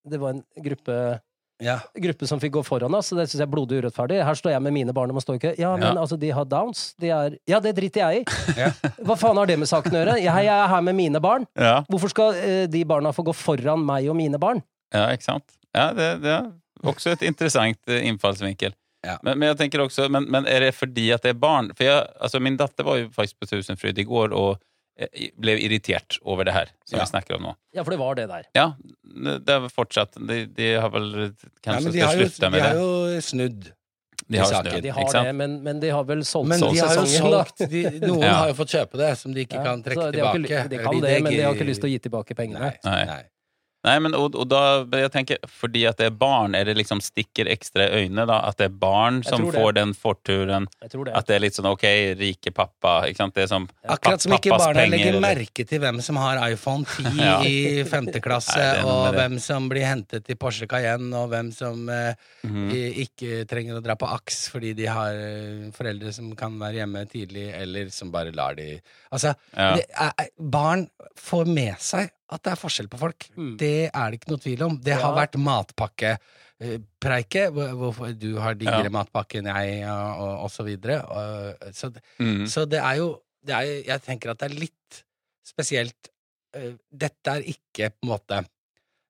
S2: Det var en gruppe,
S1: Ja.
S2: gruppe som fikk gå foran oss, og det syns jeg er blodig urettferdig. Her står jeg med mine barn og må stå i kø. Ja, men
S3: Ja.
S2: altså, de har downs. De er Ja, det driter jeg i!
S1: Ja.
S2: Hva faen har det med saken å gjøre? Jeg, jeg er her med mine barn.
S3: Ja,
S2: Hvorfor skal eh, de barna få gå foran meg og mine barn?
S3: ja, ikke sant? Ja, det, det er også et interessant eh, innfallsvinkel.
S1: Ja.
S3: Men, men jeg tenker også, men, men er det fordi at det er barn? For jeg, altså min datter var jo faktisk på Tusenfryd i går og eh, ble irritert over det her som
S1: Ja.
S3: vi snakker om nå.
S2: Ja, for det var det der.
S3: Ja, det er vel fortsatt De, de har vel
S1: Nei,
S3: kanskje
S1: men de
S3: skal
S1: har, jo,
S3: slutte
S1: de
S3: med
S1: har
S3: det.
S1: jo snudd.
S3: De har
S1: de saken.
S3: snudd,
S2: Ja, de
S3: ikke
S2: har det,
S3: sant?
S2: men, men de har vel solgt
S1: Men de har jo
S2: sesongen, da.
S1: solgt de, Noen
S3: Ja.
S1: har jo fått kjøpe det, som de ikke
S2: Ja,
S1: kan trekke
S2: så de har ikke-
S1: tilbake.
S2: De kan det, men de har ikke lyst til å gi tilbake pengene.
S1: Nei.
S3: Nei.
S1: nei.
S3: Nei, men og, og da jeg tenker Fordi at det er barn, er det liksom stikker ekstra i øynene da? At det er barn
S2: Jeg
S3: som
S2: tror det.
S3: får den forturen?
S2: Jeg tror det.
S3: At det er litt sånn ok, rike pappa, ikke sant? Det er som
S1: Akkurat som ikke
S3: pappas
S1: barna
S3: penger,
S1: legger
S3: eller-
S1: merke til hvem som har iPhone 10
S3: Ja.
S1: i femte klasse,
S3: Nei, den er
S1: og
S3: det.
S1: hvem som blir hentet i Porsche Cayenne, og hvem som eh,
S3: Mhm.
S1: i- ikke trenger å dra på AKS fordi de har eh, foreldre som kan være hjemme tidlig, eller som bare lar de Altså,
S3: Ja.
S1: det er, er- barn får med seg at det er forskjell på folk.
S2: Mm.
S1: Det er det ikke noe tvil om. Det har
S2: Ja.
S1: vært Eh, matpakkepreiket, hvorfor du har diggere
S3: Ja.
S1: matpakke enn jeg, og, og, og så videre. Og, så
S3: Mhm.
S1: så det er jo det er, Jeg tenker at det er litt spesielt eh, Dette er ikke på en måte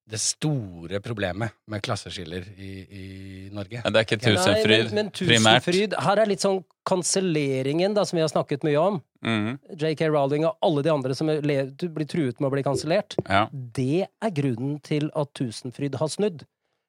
S1: det store problemet med klasseskiller i, i Norge.
S3: Ja, det er ikke
S2: Nei,
S3: Tusenfryd,
S2: men, men
S3: primært.
S2: Tusenfryd, her er litt sånn kanselleringen, da, som vi har snakket mye om.
S3: Mhm.
S2: JK Rowling og alle de andre som er le- du blir truet med å bli kansellert.
S3: Ja.
S2: Det er grunnen til at Tusenfryd har snudd.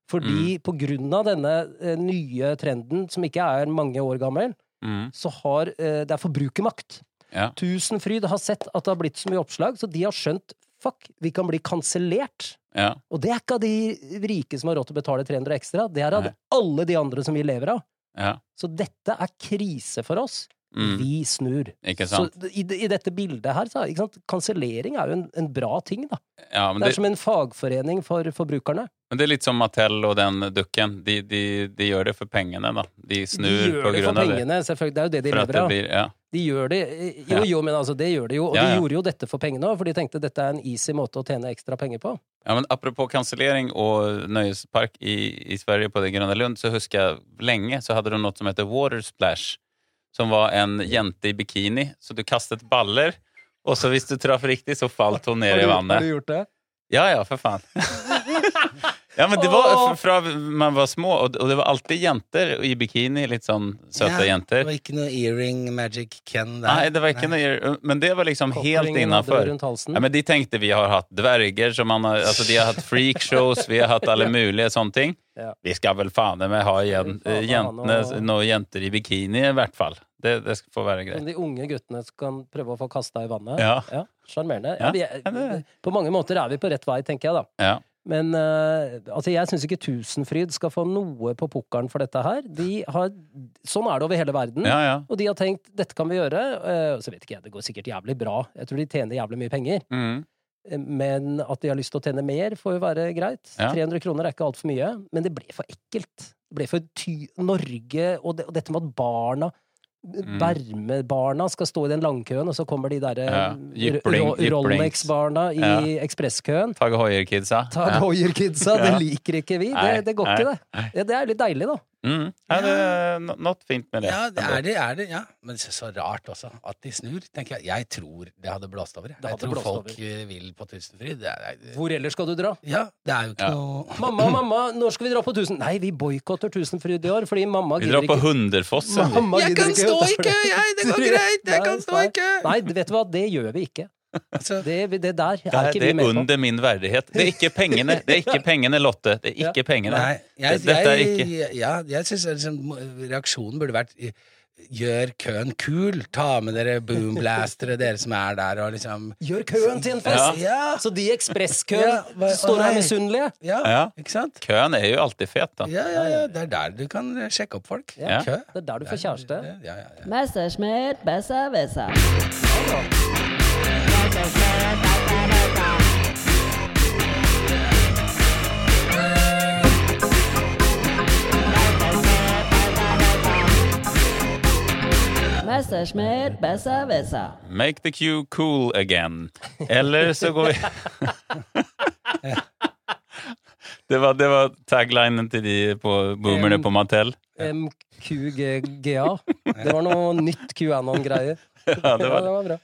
S2: Fordi
S3: Mm.
S2: på grunn av denne eh, nye trenden, som ikke er mange år gammel,
S3: Mhm.
S2: så har eh, det er forbrukermakt.
S3: Ja.
S2: Tusenfryd har sett at det har blitt så mye oppslag, så de har skjønt fuck, vi kan bli kansellert.
S3: ja.
S2: Og det er ikke av de rike som har råd til å betale 300 ekstra, det er av
S3: Nei.
S2: alle de andre som vi lever av.
S3: ja.
S2: Så dette er krise for oss.
S3: Mhm.
S2: Vi snur.
S3: Ikke
S2: Så
S3: sant?
S2: i, det- i dette bildet her, så, er- ikke sant? kansellering er jo en, en bra ting, da.
S3: Ja, men
S2: Det er
S3: det,
S2: som en fagforening for forbrukerne.
S3: men det er litt som Mattel og den dukken. De, de, de gjør det for pengene, da. De
S2: de
S3: snur
S2: gjør
S3: på
S2: det for
S3: grunn av det.
S2: pengene, selvfølgelig. Det er jo det de
S3: For at
S2: lever
S3: det
S2: av.
S3: blir Ja.
S2: De gjør det Jo,
S3: Ja.
S2: jo, men altså, det gjør de jo. Og
S3: Ja, ja.
S2: de gjorde jo dette for pengene òg, for de tenkte dette er en easy måte å tjene ekstra penger på.
S3: Ja, men Apropos kansellering og nøyespark i, i Sverige på det Grønne Lund, så husker jeg lenge så hadde de noe som heter Water Splash, som var en jente i bikini. Så du kastet baller, og så hvis du traff riktig, så falt hun ned i vannet.
S2: gjort det?
S3: Ja, ja, for faen. ja, men det var fra man var små, og, og det var alltid jenter i bikini, litt sånn søte
S1: Ja, Det
S3: jenter.
S1: var ikke noe earring magic Ken der.
S3: Nei, det var ikke noe Men det var liksom helt innafor.
S2: Rundt halsen.
S3: Ja, men de tenkte vi har hatt dverger som man har, altså de har hatt freakshows, vi har hatt alle mulige sånne ting.
S2: Ja.
S3: Vi skal vel faen meg ha igjen
S2: Ja, faen,
S3: jentene,
S2: og-
S3: noen jenter i bikini i hvert fall. Det, det skal få være
S2: Som
S3: greit.
S2: de unge guttene som kan prøve å få kasta i vannet.
S3: Ja.
S2: Sjarmerende.
S3: Ja,
S2: Ja, vi er-
S3: ja, det-
S2: på mange måter er vi på rett vei, tenker jeg, da.
S3: Ja.
S2: Men eh, altså, jeg syns ikke Tusenfryd skal få noe på pukkelen for dette her. De har, sånn er det over hele verden.
S3: ja, ja.
S2: Og de har tenkt dette kan vi gjøre. eh, og så vet ikke jeg, det går sikkert jævlig bra. Jeg tror de tjener jævlig mye penger.
S3: Mm.
S2: Eh, Men at de har lyst til å tjene mer, får jo være greit.
S3: Ja.
S2: 300 kroner er ikke altfor mye. Men det ble for ekkelt. Det ble for ty Norge, og, det, og dette med at barna
S3: Mm.
S2: Bermebarna skal stå i den langkøen, og så kommer de derre
S3: Ja, jypling- jyplings.
S2: Rolex-barna i
S3: Ja.
S2: ekspresskøen.
S3: Tage Hoier-kidsa.
S2: Ta Goyer-kidsa, det
S3: Ja.
S2: liker ikke vi. Det,
S3: Nei,
S2: det går ikke, det. Ja, det er litt deilig, da.
S3: Mm. Er det no- noe fint med det?
S1: Ja, det er det, er det, ja. Men så, så rart også at de snur, tenker jeg. Jeg tror det hadde blåst over. jeg.
S2: Det
S1: Jeg
S2: hadde
S1: tror
S2: blåst
S1: folk
S2: over.
S1: eh, vil på Tusenfryd. Det er, det er-
S2: Hvor ellers skal du dra?
S1: ja, det er jo ikke
S3: Ja.
S1: noe
S2: Mamma, mamma, når skal vi dra på Tusen? Nei, vi boikotter Tusenfryd i år, fordi mamma
S3: Vi drar på
S2: ikke-
S3: Hunderfoss. ja.
S2: Mamma
S1: Jeg
S2: gidder
S1: kan
S2: ikke,
S1: stå
S2: vet
S1: i
S2: du.
S1: kø, jeg! Det går greit! Jeg
S2: Nei,
S1: kan stå
S2: nei.
S1: i kø!
S2: Nei, vet du hva, det gjør vi ikke.
S1: Altså,
S2: Det, det der er
S3: Det er,
S2: ikke
S3: det
S2: vi
S3: er
S2: med på.
S3: under min verdighet. Det er ikke pengene, det er ikke pengene Lotte. Det er ikke pengene.
S1: Nei, jeg, jeg,
S3: Det- dette er ikke
S1: ja, jeg syns liksom, reaksjonen burde vært Gjør køen kul! Ta med dere boomblastere, dere som er der, og liksom
S2: Gjør køen til en
S3: Ja.
S2: fest!
S1: Ja.
S2: Så de i
S1: Ja,
S2: ekspresskøen
S1: hva-
S2: står
S1: nei.
S2: her misunnelige.
S1: Ja,
S3: Ja.
S1: ikke sant?
S3: Køen er jo alltid fet, da.
S1: Ja, ja, ja. Det er der du kan sjekke opp folk.
S3: Ja.
S1: Kø.
S2: Det er der du får kjæreste.
S1: Ja, ja, ja.
S5: Messerschmidt, besser Wisser. Messerschmidt, besser Wisser.
S3: Make the queue cool again. Eller så går vi Det var, det var taglinen til de på
S2: Um,
S3: boomerne på Mattel.
S2: MQGGA. Det var noe nytt QAnon-greier.
S3: Ja, det var det.
S2: var bra.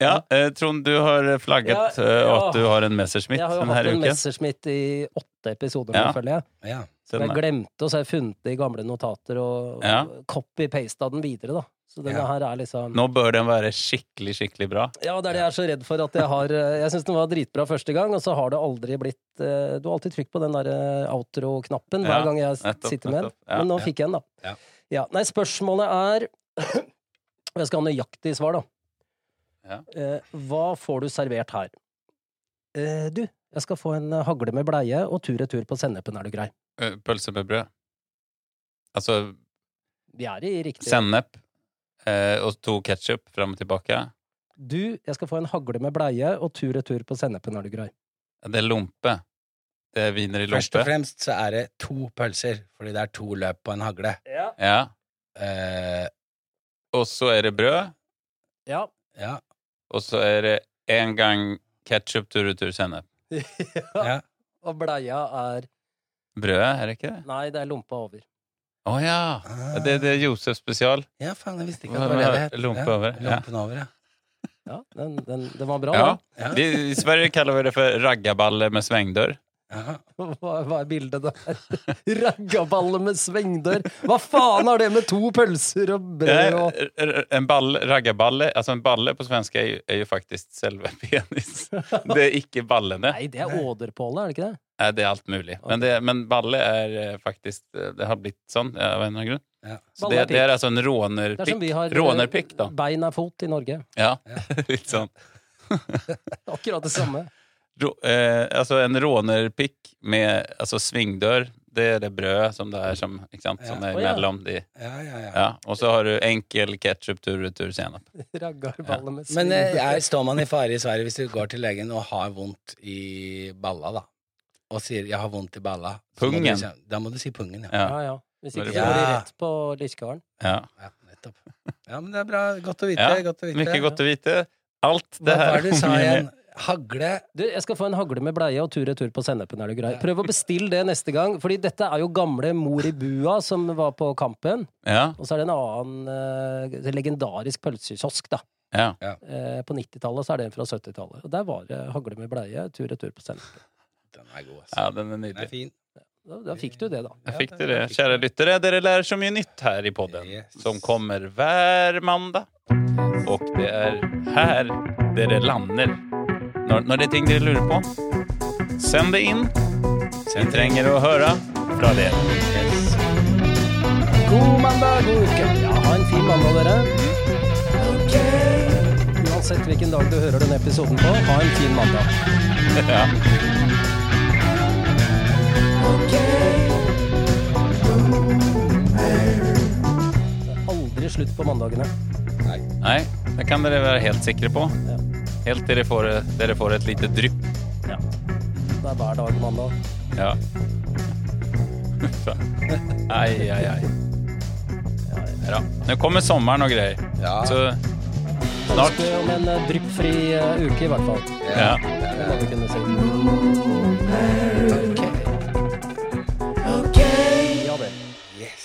S3: Ja, eh, Trond, du har flagget
S2: Ja,
S3: eh,
S2: ja.
S3: at du har en Messerschmitt
S2: Jeg har jo
S3: denne
S2: hatt en
S3: uken.
S2: Messerschmitt i åtte episoder,
S3: Ja.
S2: nå, føler jeg.
S1: ja.
S2: Som jeg
S3: Den er-
S2: glemte, og så har jeg funnet det i gamle notater og
S3: Ja.
S2: copy-pasta den videre, da. Så denne
S1: Ja.
S2: her er liksom
S3: Nå bør den være skikkelig, skikkelig bra.
S2: Ja, det er det jeg er så redd for at jeg har eh, Jeg syns den var dritbra første gang, og så har det aldri blitt eh, Du har alltid trykt på den der eh, outro-knappen
S3: Ja,
S2: hver gang jeg
S3: nettopp,
S2: sitter med den.
S3: nettopp, ja.
S2: Men nå
S1: Ja.
S2: fikk jeg den, da.
S1: Ja.
S2: Ja. Nei, spørsmålet er Jeg skal ha nøyaktig svar, da. Eh, hva får du servert her? Eh, du, jeg skal få en eh, hagle med bleie og tur-retur på sennepen, er du grei?
S3: Eh, Pølse med brød. Altså
S2: Vi er i riktig
S3: sennep eh, og to ketsjup fram og tilbake.
S2: Du, jeg skal få en hagle med bleie og tur-retur på sennepen, er du grei?
S3: Det er lompe. Det er viner i
S1: Først og
S3: lompe.
S1: fremst så er det to pølser, fordi det er to løp på en hagle.
S3: Ja.
S1: Eh,
S3: Og så er det brød,
S2: Ja.
S1: ja,
S3: og så er det en gang ketsjup tur-retur sennep.
S1: ja.
S2: Og bleia er
S3: Brødet, er det ikke det?
S2: Nei, det er lompa over.
S3: Å ja! Ja, Det, det er Josef spesial.
S1: ah, Ja, faen, jeg visste ikke
S3: Hva
S1: at det var det det
S3: var
S1: het.
S3: lompe
S1: ja.
S3: over, ja.
S1: Lompen over, ja.
S2: Ja, den, den, den var bra,
S3: Ja.
S2: da.
S1: Ja.
S3: Vi, I Sverige kaller vi det for raggaballe med svengdør.
S1: Jaha.
S2: Hva, hva er bildet der? Raggaballe med svingdør! Hva faen har det med to pølser og brød og
S3: Eh, r- En ball, raggaballe Altså, en balle på svenska er jo, er jo faktisk selve penis. Det er ikke ballene.
S2: Nei, det er åderpåle, er det ikke det?
S3: Nei, det er alt mulig. Men, det, men balle er eh, faktisk Det har blitt sånn eh, av en eller annen grunn.
S1: Ja.
S3: Så
S2: Balle
S3: det,
S2: er pikk.
S3: det er altså en
S2: Det er som
S3: rånerpikk.
S2: vi har eh,
S3: Rånerpikk, da.
S2: bein er fot i Norge.
S3: Ja, litt sånn.
S2: Akkurat det samme.
S3: Rå, eh, altså en rånerpikk med altså svingdør, det er det brødet som det er som, ikke sant, som er
S2: Å, ja.
S3: mellom de.
S1: Ja, ja, ja.
S3: Ja, og så har du enkel ketsjup tur-retur senap.
S2: Raggarballe med
S1: Men eh,
S2: svingdør.
S1: er, står man i fare i Sverige hvis du går til legen og har vondt i balla, da? Og sier 'jeg har vondt i balla'? så må du
S3: Pungen.
S1: si- Da må du si pungen, ja.
S2: Ja,
S3: Ja,
S2: ja. Hvis ikke
S3: Når
S2: så
S3: du-
S2: går de
S1: Ja.
S2: rett på liskaren.
S3: ja.
S1: ja. Nettopp. Ja, men det er bra. Godt å vite.
S3: Ja,
S1: godt å vite.
S3: Mye godt å vite. Alt
S1: Hva
S3: det her
S1: var det du sa igjen? Hagle
S2: Du, jeg skal få en hagle med bleie og tur-retur på sennepen, er du grei? Prøv å bestille det neste gang, fordi dette er jo gamle mor i bua som var på Kampen.
S3: Ja,
S2: Og så er det en annen eh, legendarisk pølsekiosk, da.
S3: ja.
S2: Eh, på 90-tallet så er det en fra 70-tallet. Og der var det hagle med bleie, tur-retur på sennepen.
S1: Den er god, altså.
S3: ja, den er
S1: Den er
S3: nydelig.
S1: fin.
S2: Da, da fikk du det, da.
S3: Jeg fikk dere det. Kjære lyttere, dere lærer så mye nytt her i podden,
S1: Yes.
S3: som kommer hver mandag. Og det er her dere lander. Når, når det er ting dere lurer på, send det inn. Vi trenger å høre fra dere.
S2: God mandag, god uke! Ja, ha en fin mandag, dere. Uansett hvilken dag du hører denne episoden på, ha en fin mandag.
S3: Ja.
S2: Aldri slutt på mandagene.
S3: Nei, det kan dere være helt sikre på.
S2: Ja.
S3: Helt til dere får, dere får et lite drypp.
S2: Det er hver dag mandag.
S3: Ja. Faen. Ai, ai, ai. Ja, da. Nå kommer sommeren og greier.
S1: Ja.
S3: Så snart
S2: Ønsker om en eh, dryppfri eh, uke, i hvert fall.
S3: ja.
S2: Det må vi kunne si. Ja, det.
S1: Yes.